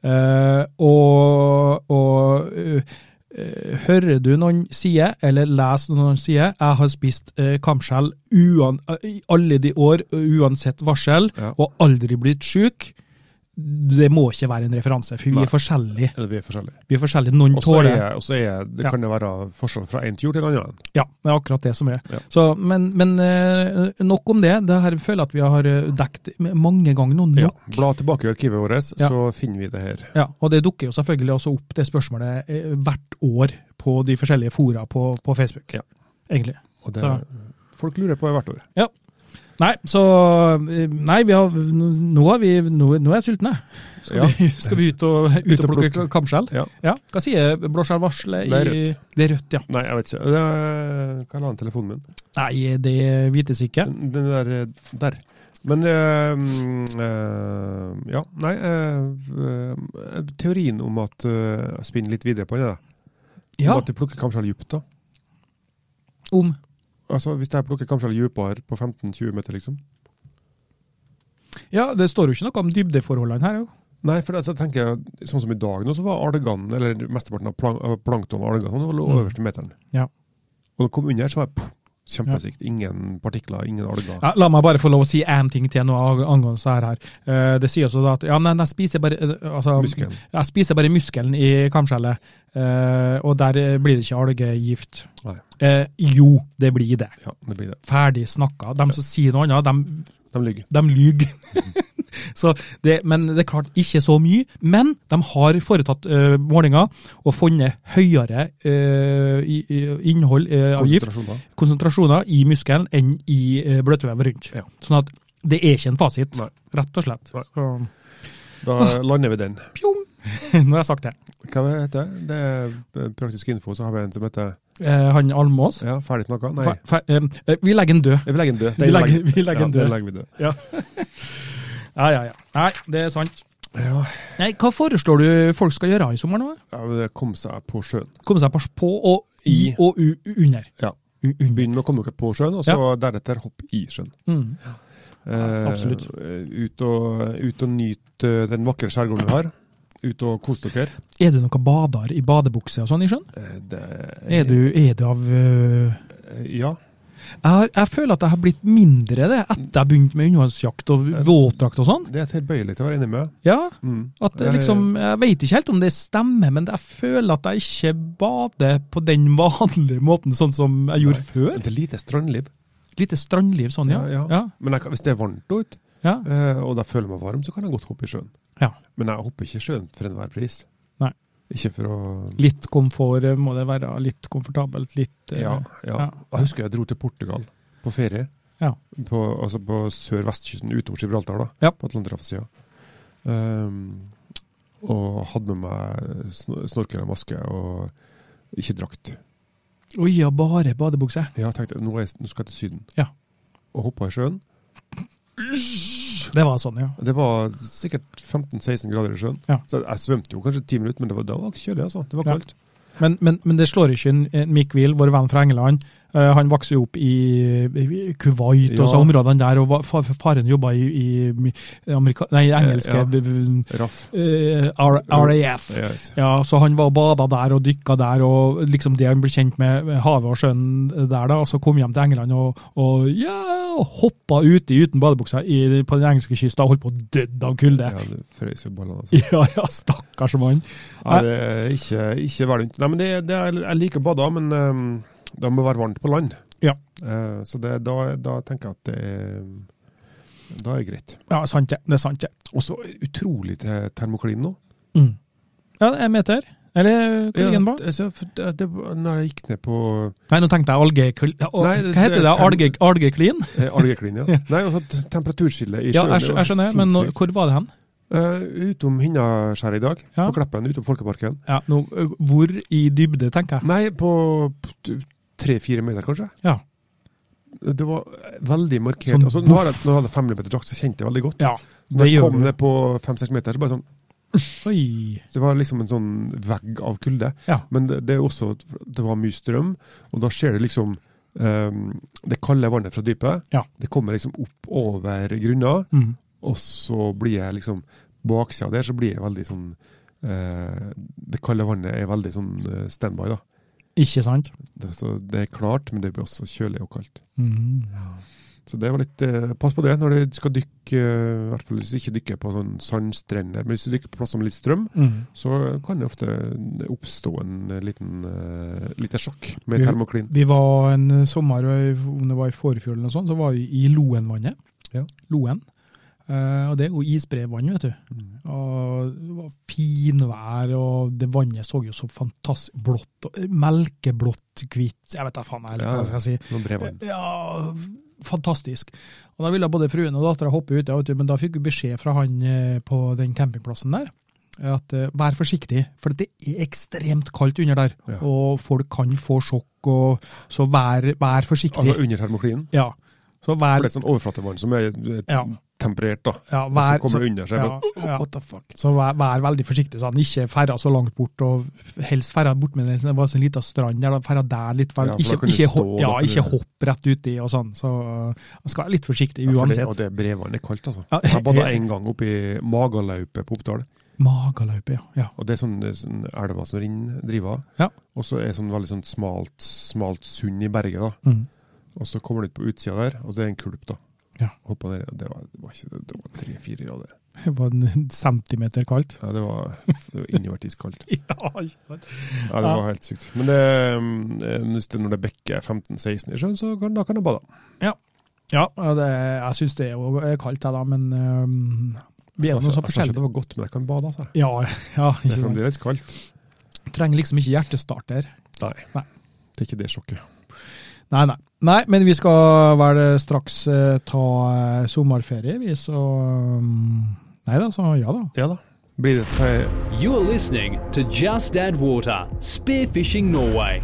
Eh, og og eh, eh, hører du noen sie, eller leser noen sie, jeg har spist eh, kamskjell uan, i alle de år, uansett varsel,
Ja.
og aldri blitt syk, det må ikke være en referanse, for vi
Nei.
er forskjellige.
Eller vi er forskjellige.
Vi er forskjellige, Noen
Og så
tåler
er- og så er- det
Ja.
kan det være forskjell fra en tur til en annen.
Ja, det er akkurat det som er.
Ja.
Så, men, men eh, nok om det. Det her føler jeg at vi har eh, dekt mange ganger nå.
Ja.
nå.
Bla tilbake i arkivet vårt,
Ja.
så finner vi det her.
Ja, og det dukker jo selvfølgelig også opp det spørsmålet eh, hvert år på de forskjellige fora på, på Facebook.
Ja.
Egentlig.
Og det,
Så.
folk lurer på det hvert år.
Nei, så eh, Nei, vi har, nå, har vi, nå, nå er jeg sulten, jeg. Skal,
Ja.
vi, skal vi ut og, ut og plukke
plukke.
kamskjell?
Ja.
Ja. Hva sier blåskjellvarselet?
Det er
i- Det er rødt, ja.
Nei, jeg vet ikke. Det er, hva la han telefonen min?
Nei, det vites ikke.
Den, den der, eh, der. Men eh, mm, eh, Ja, nei eh, eh, Teorien om at eh, Jeg spinner litt videre på den. da.
Ja,
Om at du plukker kamskjell dypt. da.
om
Altså, Hvis jeg plukker kamskjell dypere på 15-20 meter, liksom.
Ja, det står jo ikke noe om dybdeforholdene her, jo.
Nei, for altså, jeg tenker jeg, sånn som i dag nå, så var algene, eller mesteparten av plank plankton og algene, sånn, det var lå
Mm.
øverste meteren.
Ja.
Og det kom under, så var det poff, kjempesikt. Ingen partikler, ingen alger.
Ja, la meg bare få lov å si én ting til nå ang- angående så her. her. Eh, det sier også da at ja, men jeg spiser bare eh, altså,
Muskelen.
Jeg spiser bare muskelen i kamskjellet, eh, og der eh, blir det ikke algegift.
Nei.
Eh, jo, det blir det.
Ja, det blir det.
Ferdig snakka. De som sier noe annet, de,
De ligger.
de lyver. Så det, men det er klart ikke så mye. Men de har foretatt eh, målinger og funnet høyere eh, i, i, innhold eh, av gift
Konsentrasjoner.
konsentrasjoner i muskelen enn i eh, bløtvevet rundt.
Ja.
Sånn at det er ikke en fasit,
Nei.
rett og slett.
Nei.
Så,
Da
Ah.
lander vi den.
pjong! Nå har jeg sagt det.
Hva heter det? Det er eh, praktisk info, så har vi en som heter
Eh, han Almås
Ja, ferdig snakka? Nei.
Fe- fe- eh, eh, Vi legger den død.
Vi legger den død.
Vi legger, vi legger
ja,
den
den
død.
legger vi død.
Ja, ja, ja. Nei, det er sant.
Ja.
Nei, hva foreslår du folk skal gjøre i sommer nå?
ja, men det kom seg på sjøen.
Komme seg på- på og i
I.
og u, u under.
Ja.
U, under.
Begynn med å komme dere på sjøen, og så deretter hopp i sjøen.
Mm.
Eh,
absolutt.
Ut og, ut og nyt eh, den vakre skjærgården vi har. Ut og kose dere.
Er du noen bader i badebukse og sånn i sjøen?
Eh, det-
Er du, er du av eh,
Eh, Ja.
jeg, har, jeg føler at jeg har blitt mindre det etter jeg begynte med undervannsjakt og våtdrakt og sånn.
Det er tilbøyelig til å være enig med.
Ja,
Mm.
at det liksom, Jeg vet ikke helt om det stemmer, men jeg føler at jeg ikke bader på den vanlige måten, sånn som jeg gjorde
Eh,
før.
Det er lite strandliv.
Lite strandliv sånn, ja.
Ja, ja.
ja.
Men jeg, kan- hvis det er varmt ute,
ja.
eh, og jeg føler meg varm, så kan jeg godt hoppe i sjøen.
Ja.
Men jeg hopper ikke i sjøen for enhver pris.
Nei.
Ikke for å
Litt komfort eh, må det være, litt komfortabelt, litt eh,
Ja, ja.
ja.
Jeg husker jeg dro til Portugal på ferie.
Ja.
På, altså på sør-vestkysten utover Gibraltar, da.
Ja.
På Atlanterhavssida. Ehm, og hadde med meg sn- snorkel og maske og ikke drakt.
Oi, ja, bare badebukse.
Jeg tenkte nå, er jeg, nå skal jeg til Syden.
Ja.
Og hoppa i sjøen.
Det var sånn, ja.
Det var sikkert 15-16 grader i sjøen.
Ja.
Så jeg svømte jo kanskje ti minutter, men det var, det var kjølig, altså. Det var
Ja.
kaldt.
Men, men, men det slår ikke en- en Mick Will, vår venn fra England. Eh, han vokste jo opp i i Kuwait og
Ja.
så områdene der, og var- fa- faren jobba i, i amerika, nei, engelske
Ja.
b- b-
Raff.
eh, R- RAF.
Jeg vet.
Ja, så han var og bada der og dykka der, og liksom det han ble kjent med med havet og sjøen der, da. Og så kom hjem til England og, og ja, hoppa uti uten badebuksa i, på den engelske kysten og holdt på å dø av kulde.
Ja, det frøs jo ballene. Altså.
Ja, ja, stakkars mann.
Ja, det er ikke, ikke varmt. Nei, men det, det er, jeg liker å bade, men ehm, det må være varmt på land.
Ja.
Eh, så det, da, da tenker jeg at det er, da er det greit.
Ja, sant det. Det er sant, det.
Og så utrolig til termoklin nå.
Mm. Ja, det er en meter. Eller hva ligger den på?
altså, for det, det, når jeg gikk ned på
Nei, nå tenkte jeg algekl... å,
Nei, det-
Hva heter det? Alge,
det-
algeklin?
eh, algeklin, ja.
Ja.
Nei, altså t- temperaturskillet i
Ja,
sjøen.
jeg, skj- jeg skjønner, men nå, hvor var det hen?
Eh, utom Hinnaskjæret i dag,
Ja.
på Kleppen, utom Folkeparken.
Ja, nå, ø, hvor i dybde, tenker jeg.
Nei, på tre-fire meter, kanskje.
Ja.
Det var veldig markert.
Sånn
altså, nå har jeg, når jeg hadde fem millimeter drakt, så kjente jeg veldig godt.
Ja,
Når
det
jeg
gjør
kom
du.
ned på fem-seks meter, så bare sånn,
Oi.
det var liksom en sånn vegg av kulde.
Ja.
Men det, det er også, det var mye strøm, og da skjer det liksom ehm, det kalde vannet fra dypet.
Ja.
Det kommer liksom opp over grunna,
Mm.
og så blir jeg liksom baksida der, så blir jeg veldig sånn eh, Det kalde vannet er veldig sånn eh, standby, da.
Ikke sant?
Det, er så det er klart, men det blir også kjølig og kaldt.
Mm.
Så det var litt, eh, pass på det når du skal dykke, eh, i hvert fall hvis du ikke dykker på sånn sandstrender, men hvis du dykker på plasser med litt strøm,
Mm.
så kan det ofte oppstå en liten eh, lite sjokk med
Jo.
termoklin.
Vi var en eh, sommer, eh, om det var i forfjor eller noe sånt, så var vi i Loenvannet.
Ja.
Loen. Eh, og det er jo isbrevann, vet du. Og det var finvær, og det vannet så jo så fantastisk blått. og- eh, Melkeblått, hvitt, jeg vet da faen jeg,
Ja.
hva skal jeg si.
Noen brevvann.
Ja, fantastisk. Og Da ville både fruen og dattera hoppe ut, ja, vet du, men da fikk vi beskjed fra han eh, på den campingplassen der at eh, vær forsiktig, for det er ekstremt kaldt under der.
Ja.
Og folk kan få sjokk, og, så vær, vær forsiktig.
Altså under termoklinen.
ja. Så
For
vær,
det er sånn overflatevann som er eh,
Ja.
temperert, da.
ja,
Og så
vær,
kommer
så,
det under seg.
ja,
bare, oh,
ja.
What the fuck?
så vær, vær veldig forsiktig, sa han. Ikke ferda så langt bort, og helst ferda bort med den. Det var en liten strand der, da ferda der litt. Ferda,
Ja, for da
ikke,
kan du
ikke,
stå,
hopp,
da
ja,
kan du-
ikke hopp rett uti og sånn. Så uh, man skal være litt forsiktig
Ja, for det-
uansett.
Og det brevvann er kaldt, altså.
Ja,
Jeg bada
ja.
én gang oppe i Magaløypet på Oppdal.
Magaløype, ja. ja.
Og det er sånn, det er sånn elva som renner, driver av.
Ja.
Og så er det sånn veldig sånn smalt, smalt sund i berget, da.
Mm.
Og så kommer du ut på utsida der, og så er det en kulp, da.
Ja.
Hoppa ned, og det var, det var ikke det, det var tre-fire grader.
Det var en centimeter kaldt.
Ja, det var det var innvortis kaldt.
Ja, ikke sant?
Ja, det var helt sykt. Men det, um, eh, hvis det, når det bekker 15-16 i sjøen, så kan, da kan du bade.
ja og det, jeg syns det er jo øh, kaldt, jeg da, men øhm, vi er jo
Jeg
noe så
sa ikke- jeg sa ikke
forskjellige.
Altså, Det var godt, men jeg kan bade, altså.
Ja, ja, ikke
Det er
sant.
fremdeles kaldt.
Trenger liksom ikke hjertestarter.
Nei.
Nei.
Det er ikke det sjokket.
Nei, nei. Nei, men vi skal vel straks eh, ta eh, sommerferie, vi, så øhm, Nei da, så ja da.
Ja da. Blir det til
You're listening to Just Add Water Spearfishing Norway.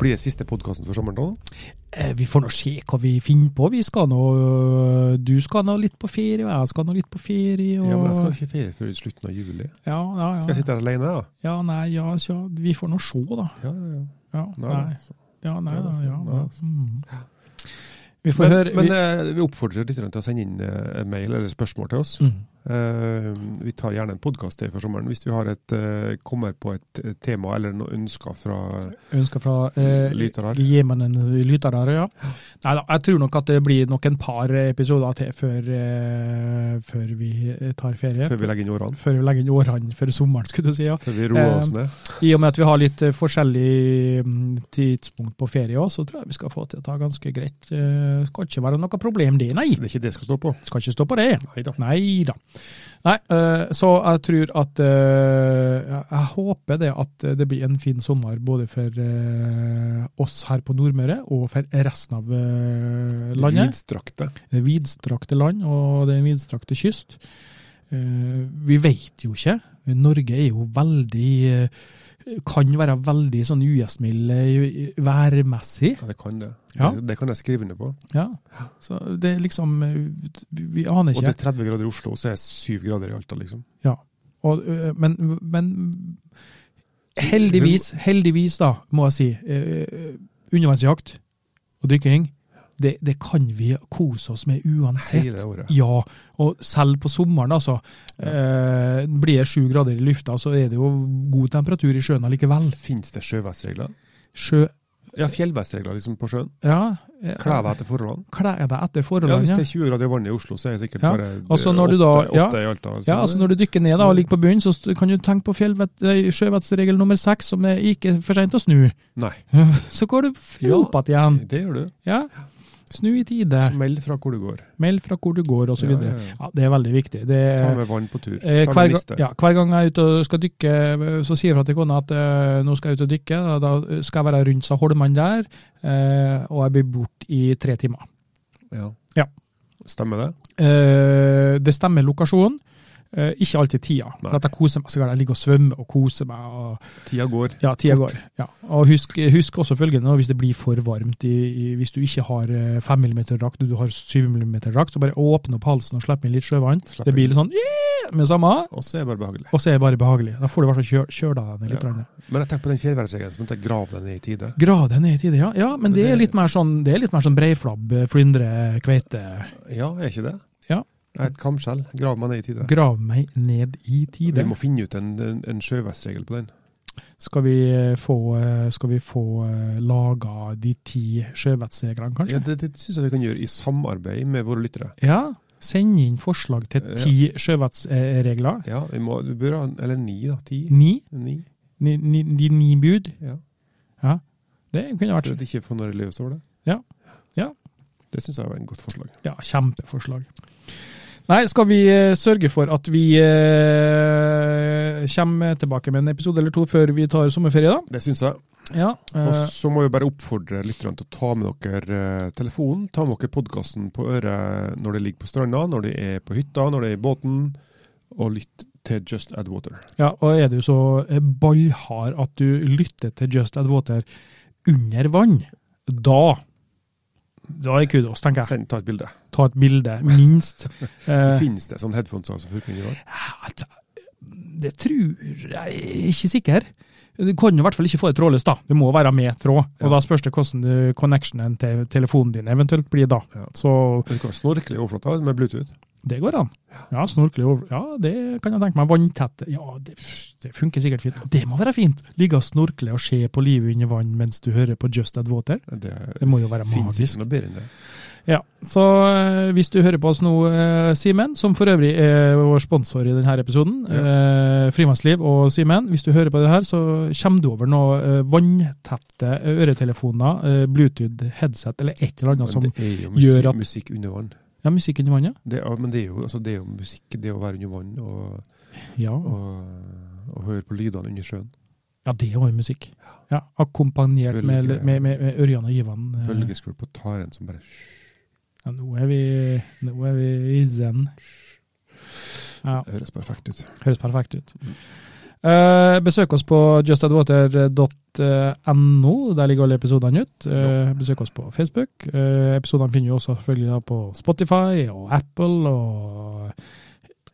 Blir det siste podkasten for sommeren da?
Eh, Vi får nå se hva vi finner på. Vi skal nå øh, Du skal nå litt på ferie, og jeg skal nå litt på ferie, og
Ja, men jeg skal ikke feire før i slutten av juli.
ja, ja, ja.
Skal jeg sitte her alene, da?
Ja, nei, ja, så vi får nå se, da.
Ja, ja, ja.
Ja,
Nei,
nei,
da, så.
ja, nei,
Nei,
da,
altså,
ja,
nei,
da.
altså.
Mm. Vi får
Men,
høre
men
vi,
eh, vi oppfordrer lytterne til å sende inn eh, en mail eller spørsmål til oss.
mm.
Eh, vi tar gjerne en podkast til for sommeren hvis vi har et, eh, kommer på et eh, tema eller noe ønsker fra
Ønsker fra eh,
lytere her.
Jemen lytter her, ja. Nei da, jeg tror nok at det blir nok en par episoder til før, eh, før vi tar ferie.
før vi legger inn årene.
Før vi legger inn årene før sommeren, skulle du si. ja.
Før vi roer
Eh,
oss ned.
I og med at vi har litt eh, forskjellig mm, tidspunkt på ferie òg, så tror jeg vi skal få til dette ganske greit. Eh, Skal ikke være noe problem, det, nei.
Så Det er ikke det skal stå på.
Skal ikke stå på det.
Nei da.
Nei da. Nei, eh, så jeg tror at eh, Jeg håper det at det blir en fin sommer både for eh, oss her på Nordmøre og for resten av eh, landet.
Vidstrakte.
Det vidstrakte land og den vidstrakte kyst. Eh, Vi vet jo ikke. Norge er jo veldig eh, Kan være veldig sånn ugjestmild eh, værmessig.
Ja, det kan det.
Ja.
det. Det kan jeg skrive under på.
Ja. Så det er liksom eh, Vi vi aner
Og
ikke.
det er 30 grader i Oslo, og så er det 7 grader i Alta, liksom.
Og, øh, men, men heldigvis, heldigvis da, må jeg si, øh, øh, undervannsjakt og dykking, det, det kan vi kose oss med uansett.
Hele året.
Ja, og selv på sommeren, altså. Eh, blir det sju grader i lufta, så er det jo god temperatur i sjøen allikevel.
Fins det sjøvestregler?
Sjø
Ja, fjellvestregler liksom på sjøen.
Ja. eh,
Kle deg etter forholdene.
Kle deg etter
Ja, hvis
forholdene.
det
Ja,
er 20 grader i vannet i Oslo, så er det sikkert
Ja,
bare
altså
eh,
når du da-
åtte,
ja.
åtte i Alta.
ja, altså Når du dykker ned
Mm.
da, og ligger på bunnen, så st- kan du tenke på fjellvett- eh, sjøvettsregel nummer seks, som det er ikke for seint å snu.
Nei,
Så går du f-
Ja.
opp igjen.
det gjør du.
Ja. Snu i tide.
Meld fra hvor du går.
Meld fra hvor du går, osv.
Ja,
Ja,
ja, ja.
ja, det er veldig viktig. Det,
Ta med vann på tur.
eh,
Ta
hver,
med
gang,
liste.
ja, hver gang jeg er ute og skal dykke, så sier jeg fra til kona at eh, nå skal jeg ut og dykke. og Da skal jeg være rundt sa Holman der, eh, og jeg blir borte i tre timer.
Ja.
Ja.
Stemmer det?
Eh, det stemmer lokasjonen. eh, ikke alltid tida,
Nei.
for at jeg koser meg. Så kan jeg ligge og svømme og kose meg. og
Tida går.
Ja, tida går. Ja. Og husk, husk også følgende, da, hvis det blir for varmt, i, i, hvis du ikke har eh, 5 mm drakt, du har 7 mm drakt, så bare åpne opp halsen og slipp inn litt sjøvann.
Slapp
Det blir
inn.
litt sånn yeah! med samme,
Og så er det bare behagelig.
og så er det bare behagelig. Da får du i hvert fall kjø- kjøla deg ned litt.
Ja.
grann.
Men jeg tenker på den fjellværelsesregelen, så måtte jeg grave den ned i tide.
Grav deg ned i tide, ja. ja. Men det er litt mer sånn, det er litt mer sånn breiflabb, eh, flyndre, kveite.
Ja, er ikke det?
Ja.
Jeg er et kamskjell. Grav meg ned i tide.
Grav meg ned i
Vi
tide.
må finne ut en, en, en sjøvestregel på den.
Skal vi eh, få, eh, skal vi få eh, laga de ti sjøvettsjeglene,
Ja,
kanskje?
det det syns jeg vi kan gjøre i samarbeid med våre lyttere.
Ja. Send inn forslag til
Ja.
ti sjøvettsregler.
Ja, vi, må, vi bør ha en, Eller ni, da. Ti.
Ni.
Ni.
Ni, ni, de ni bud.
Ja.
Ja. Det kunne
For
vært
at ikke får noe religiøst over det.
Ja. Ja.
Det syns jeg var en godt forslag.
Ja, kjempeforslag. Nei, skal vi eh, sørge for at vi eh, kommer tilbake med en episode eller to før vi tar sommerferie, da?
Det syns jeg.
Ja.
Og
Eh,
så må vi bare oppfordre lytterne til å ta med dere eh, telefonen. Ta med dere podkasten på øret når det ligger på stranda, når det er på hytta, når det er i båten. Og lytt til Just Add Water.
ja, og er du så eh, ballhard at du lytter til Just Ad Water under vann, da da er kudos, tenker jeg.
Send, ta et bilde.
Ta et bilde, minst. Eh,
Finnes det sånne headphones altså, som funker i dag?
det tror jeg jeg er ikke sikker. Du kan jo i hvert fall ikke få det trådløst, da. Du må være med tråd. Og
Ja.
da spørs det hvordan du- connectionen til telefonen din eventuelt blir da.
Ja.
Så
Du kan ha snorkelig overflate med Bluetooth.
det går an. Ja, snorkelig over... Ja, det kan jeg tenke meg. Vanntette. Ja, det, det funker sikkert fint. Og Det må være fint! Ligge og snorkle og se på livet under vann mens du hører på Just Ad Water.
Det,
Det må jo være
finnes
magisk.
ikke noe bedre enn det.
Ja, så eh, hvis du hører på oss nå, eh, Simen, som for øvrig er vår sponsor i denne episoden, eh, Frimannsliv og Simen, hvis du hører på det her, så kommer du over noen eh, vanntette øretelefoner, eh, Bluetooth, headset eller et eller
Men
annet som
det er jo
gjør
musikk,
at-
musikk under vann.
Ja, musikk under vannet?
Det er, men det er, jo, altså, det er jo musikk, det å være under vann og,
Ja.
og, og høre på lydene under sjøen.
ja, det var jo musikk. Ja, Akkompagnert med,
Bølge.
med, med, med Ørjan og Ivan. eh.
Bølgeskvulp på taren som bare
Ja, nå, er vi, nå er vi i zen. Ja.
Det høres perfekt ut.
Høres perfekt ut.
Mm.
Eh, besøk oss på justadwater.no. Der ligger alle episodene ut. Eh, besøk oss på Facebook. Eh, episodene finner vi også selvfølgelig da på Spotify og Apple og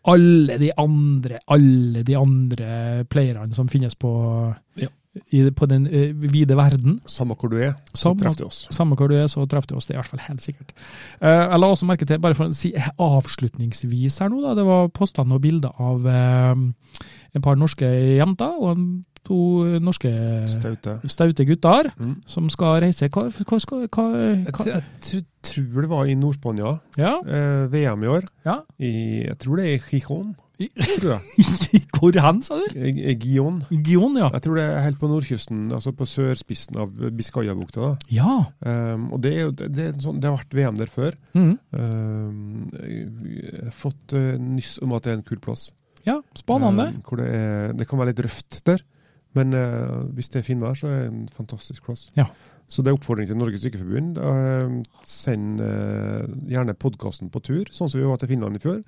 alle de andre alle de andre playerne som finnes på,
Ja.
i, på den eh, vide verden.
Samme hvor du er, så
Samme-
treffer du oss.
Samme hvor du er, så treffer du oss. Det er i hvert fall helt sikkert. Eh, jeg la også merke til, bare for å si avslutningsvis her nå, da, det var postene og bilder av eh, en par norske jenter og en- to norske
Staute.
staute gutter
Mm.
som skal reise hva, hva, skal, hva,
Jeg,
hva
tr- jeg tr- tror det var i Nord-Spania,
Ja?
eh, VM i år.
ja.
I, jeg tror det er i Gijon.
I-
Tror jeg.
Hvor hen, sa du?
I- i Gijon.
Gion, ja.
Jeg tror det er helt på nordkysten, altså på sørspissen av Biscayabukta. da.
Ja.
Um, og det, er jo, det, det, er en sånn, det har vært VM der før.
Mhm.
Um, jeg har fått eh, nyss om at det er en kul plass.
ja. Spennende.
Um, hvor det, er, det kan være litt røft der, men eh, hvis det er finvær, så er det en fantastisk plass.
Ja.
Så det er oppfordring til Norges Sykeforbund. Um, send eh, gjerne podkasten på tur, sånn som vi var til Finland i fjor.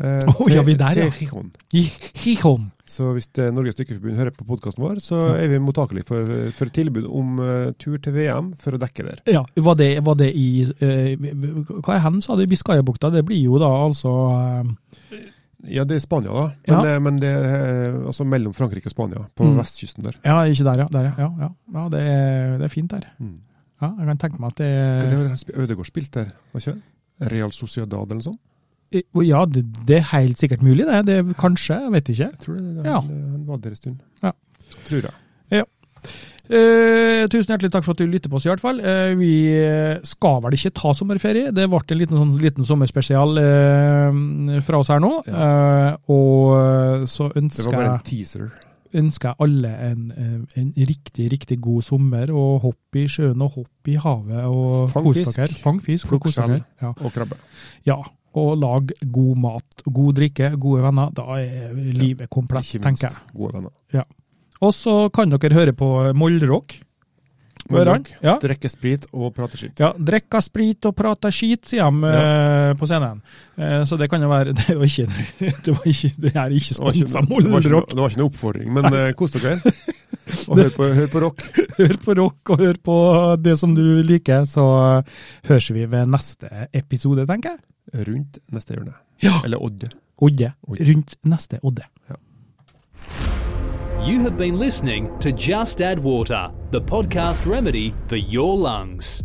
eh,
Å,
til-
ja, vi der,
til
ja.
Gijon.
I Gion.
Så hvis eh, Norges Dykkerforbund hører på podkasten vår, så
Ja.
er vi mottakelige for, for tilbud om eh, tur til VM for å dekke der.
Ja, var det, var det i eh, Hva er hen, sa du? Biscayabukta? Det blir jo da altså eh,
Ja, det er Spania, da. Men,
Ja.
eh, men det er eh, altså mellom Frankrike og Spania, på
Mm.
vestkysten der.
Ja, ikke der, ja. Der, ja. ja, ja. ja det, er, det er fint der.
Mm.
Ja, jeg kan tenke meg at
Hva
det
det var det Ødegaard spilte der, var ikke det? Real Sociedad eller noe sånt?
Eh, Ja, det, det er helt sikkert mulig, det. det er kanskje, jeg vet ikke.
Jeg tror det, det
Ja.
han, han var der en stund.
Ja.
Tror jeg.
Eh, tusen hjertelig takk for at du lytter på oss, i hvert fall. Eh, vi eh, skal vel ikke ta sommerferie. Det ble en liten, sånn, liten sommerspesial eh, fra oss her nå. Eh, og så
Det
ønsker
var bare
jeg
en teaser.
ønsker jeg alle en, eh, en riktig, riktig god sommer, og hopp i sjøen og hopp i havet. og
Fang
kos
fisk.
dere. Fang fisk. og
Plukk
kos
skjell.
dere. Ja.
Og krabbe.
Ja, og lag god mat, god drikke, gode venner. Da er livet komplett,
Ikke minst
tenker jeg.
gode venner.
Og så kan dere høre på Moldrock. Hører han? Ja.
Drikke sprit og prate skitt.
Ja, drikka sprit og prata skit, sier de eh, på scenen. Eh, så det kan jo være Det var ikke, det var ikke, det er ikke
Det var ikke,
sponsa
noe- det, var ikke, noe-
Moldrock.
det var ikke noe oppfordring, men eh, kos dere. Og hør på, hør på rock.
Hør på rock og hør på det som du liker, så høres vi ved neste episode, tenker jeg.
Rundt neste hjørne.
Ja.
Eller Odd.
Odde.
Odde.
Rundt neste Odde.
You have been listening to Just Add Water, the podcast remedy for your lungs.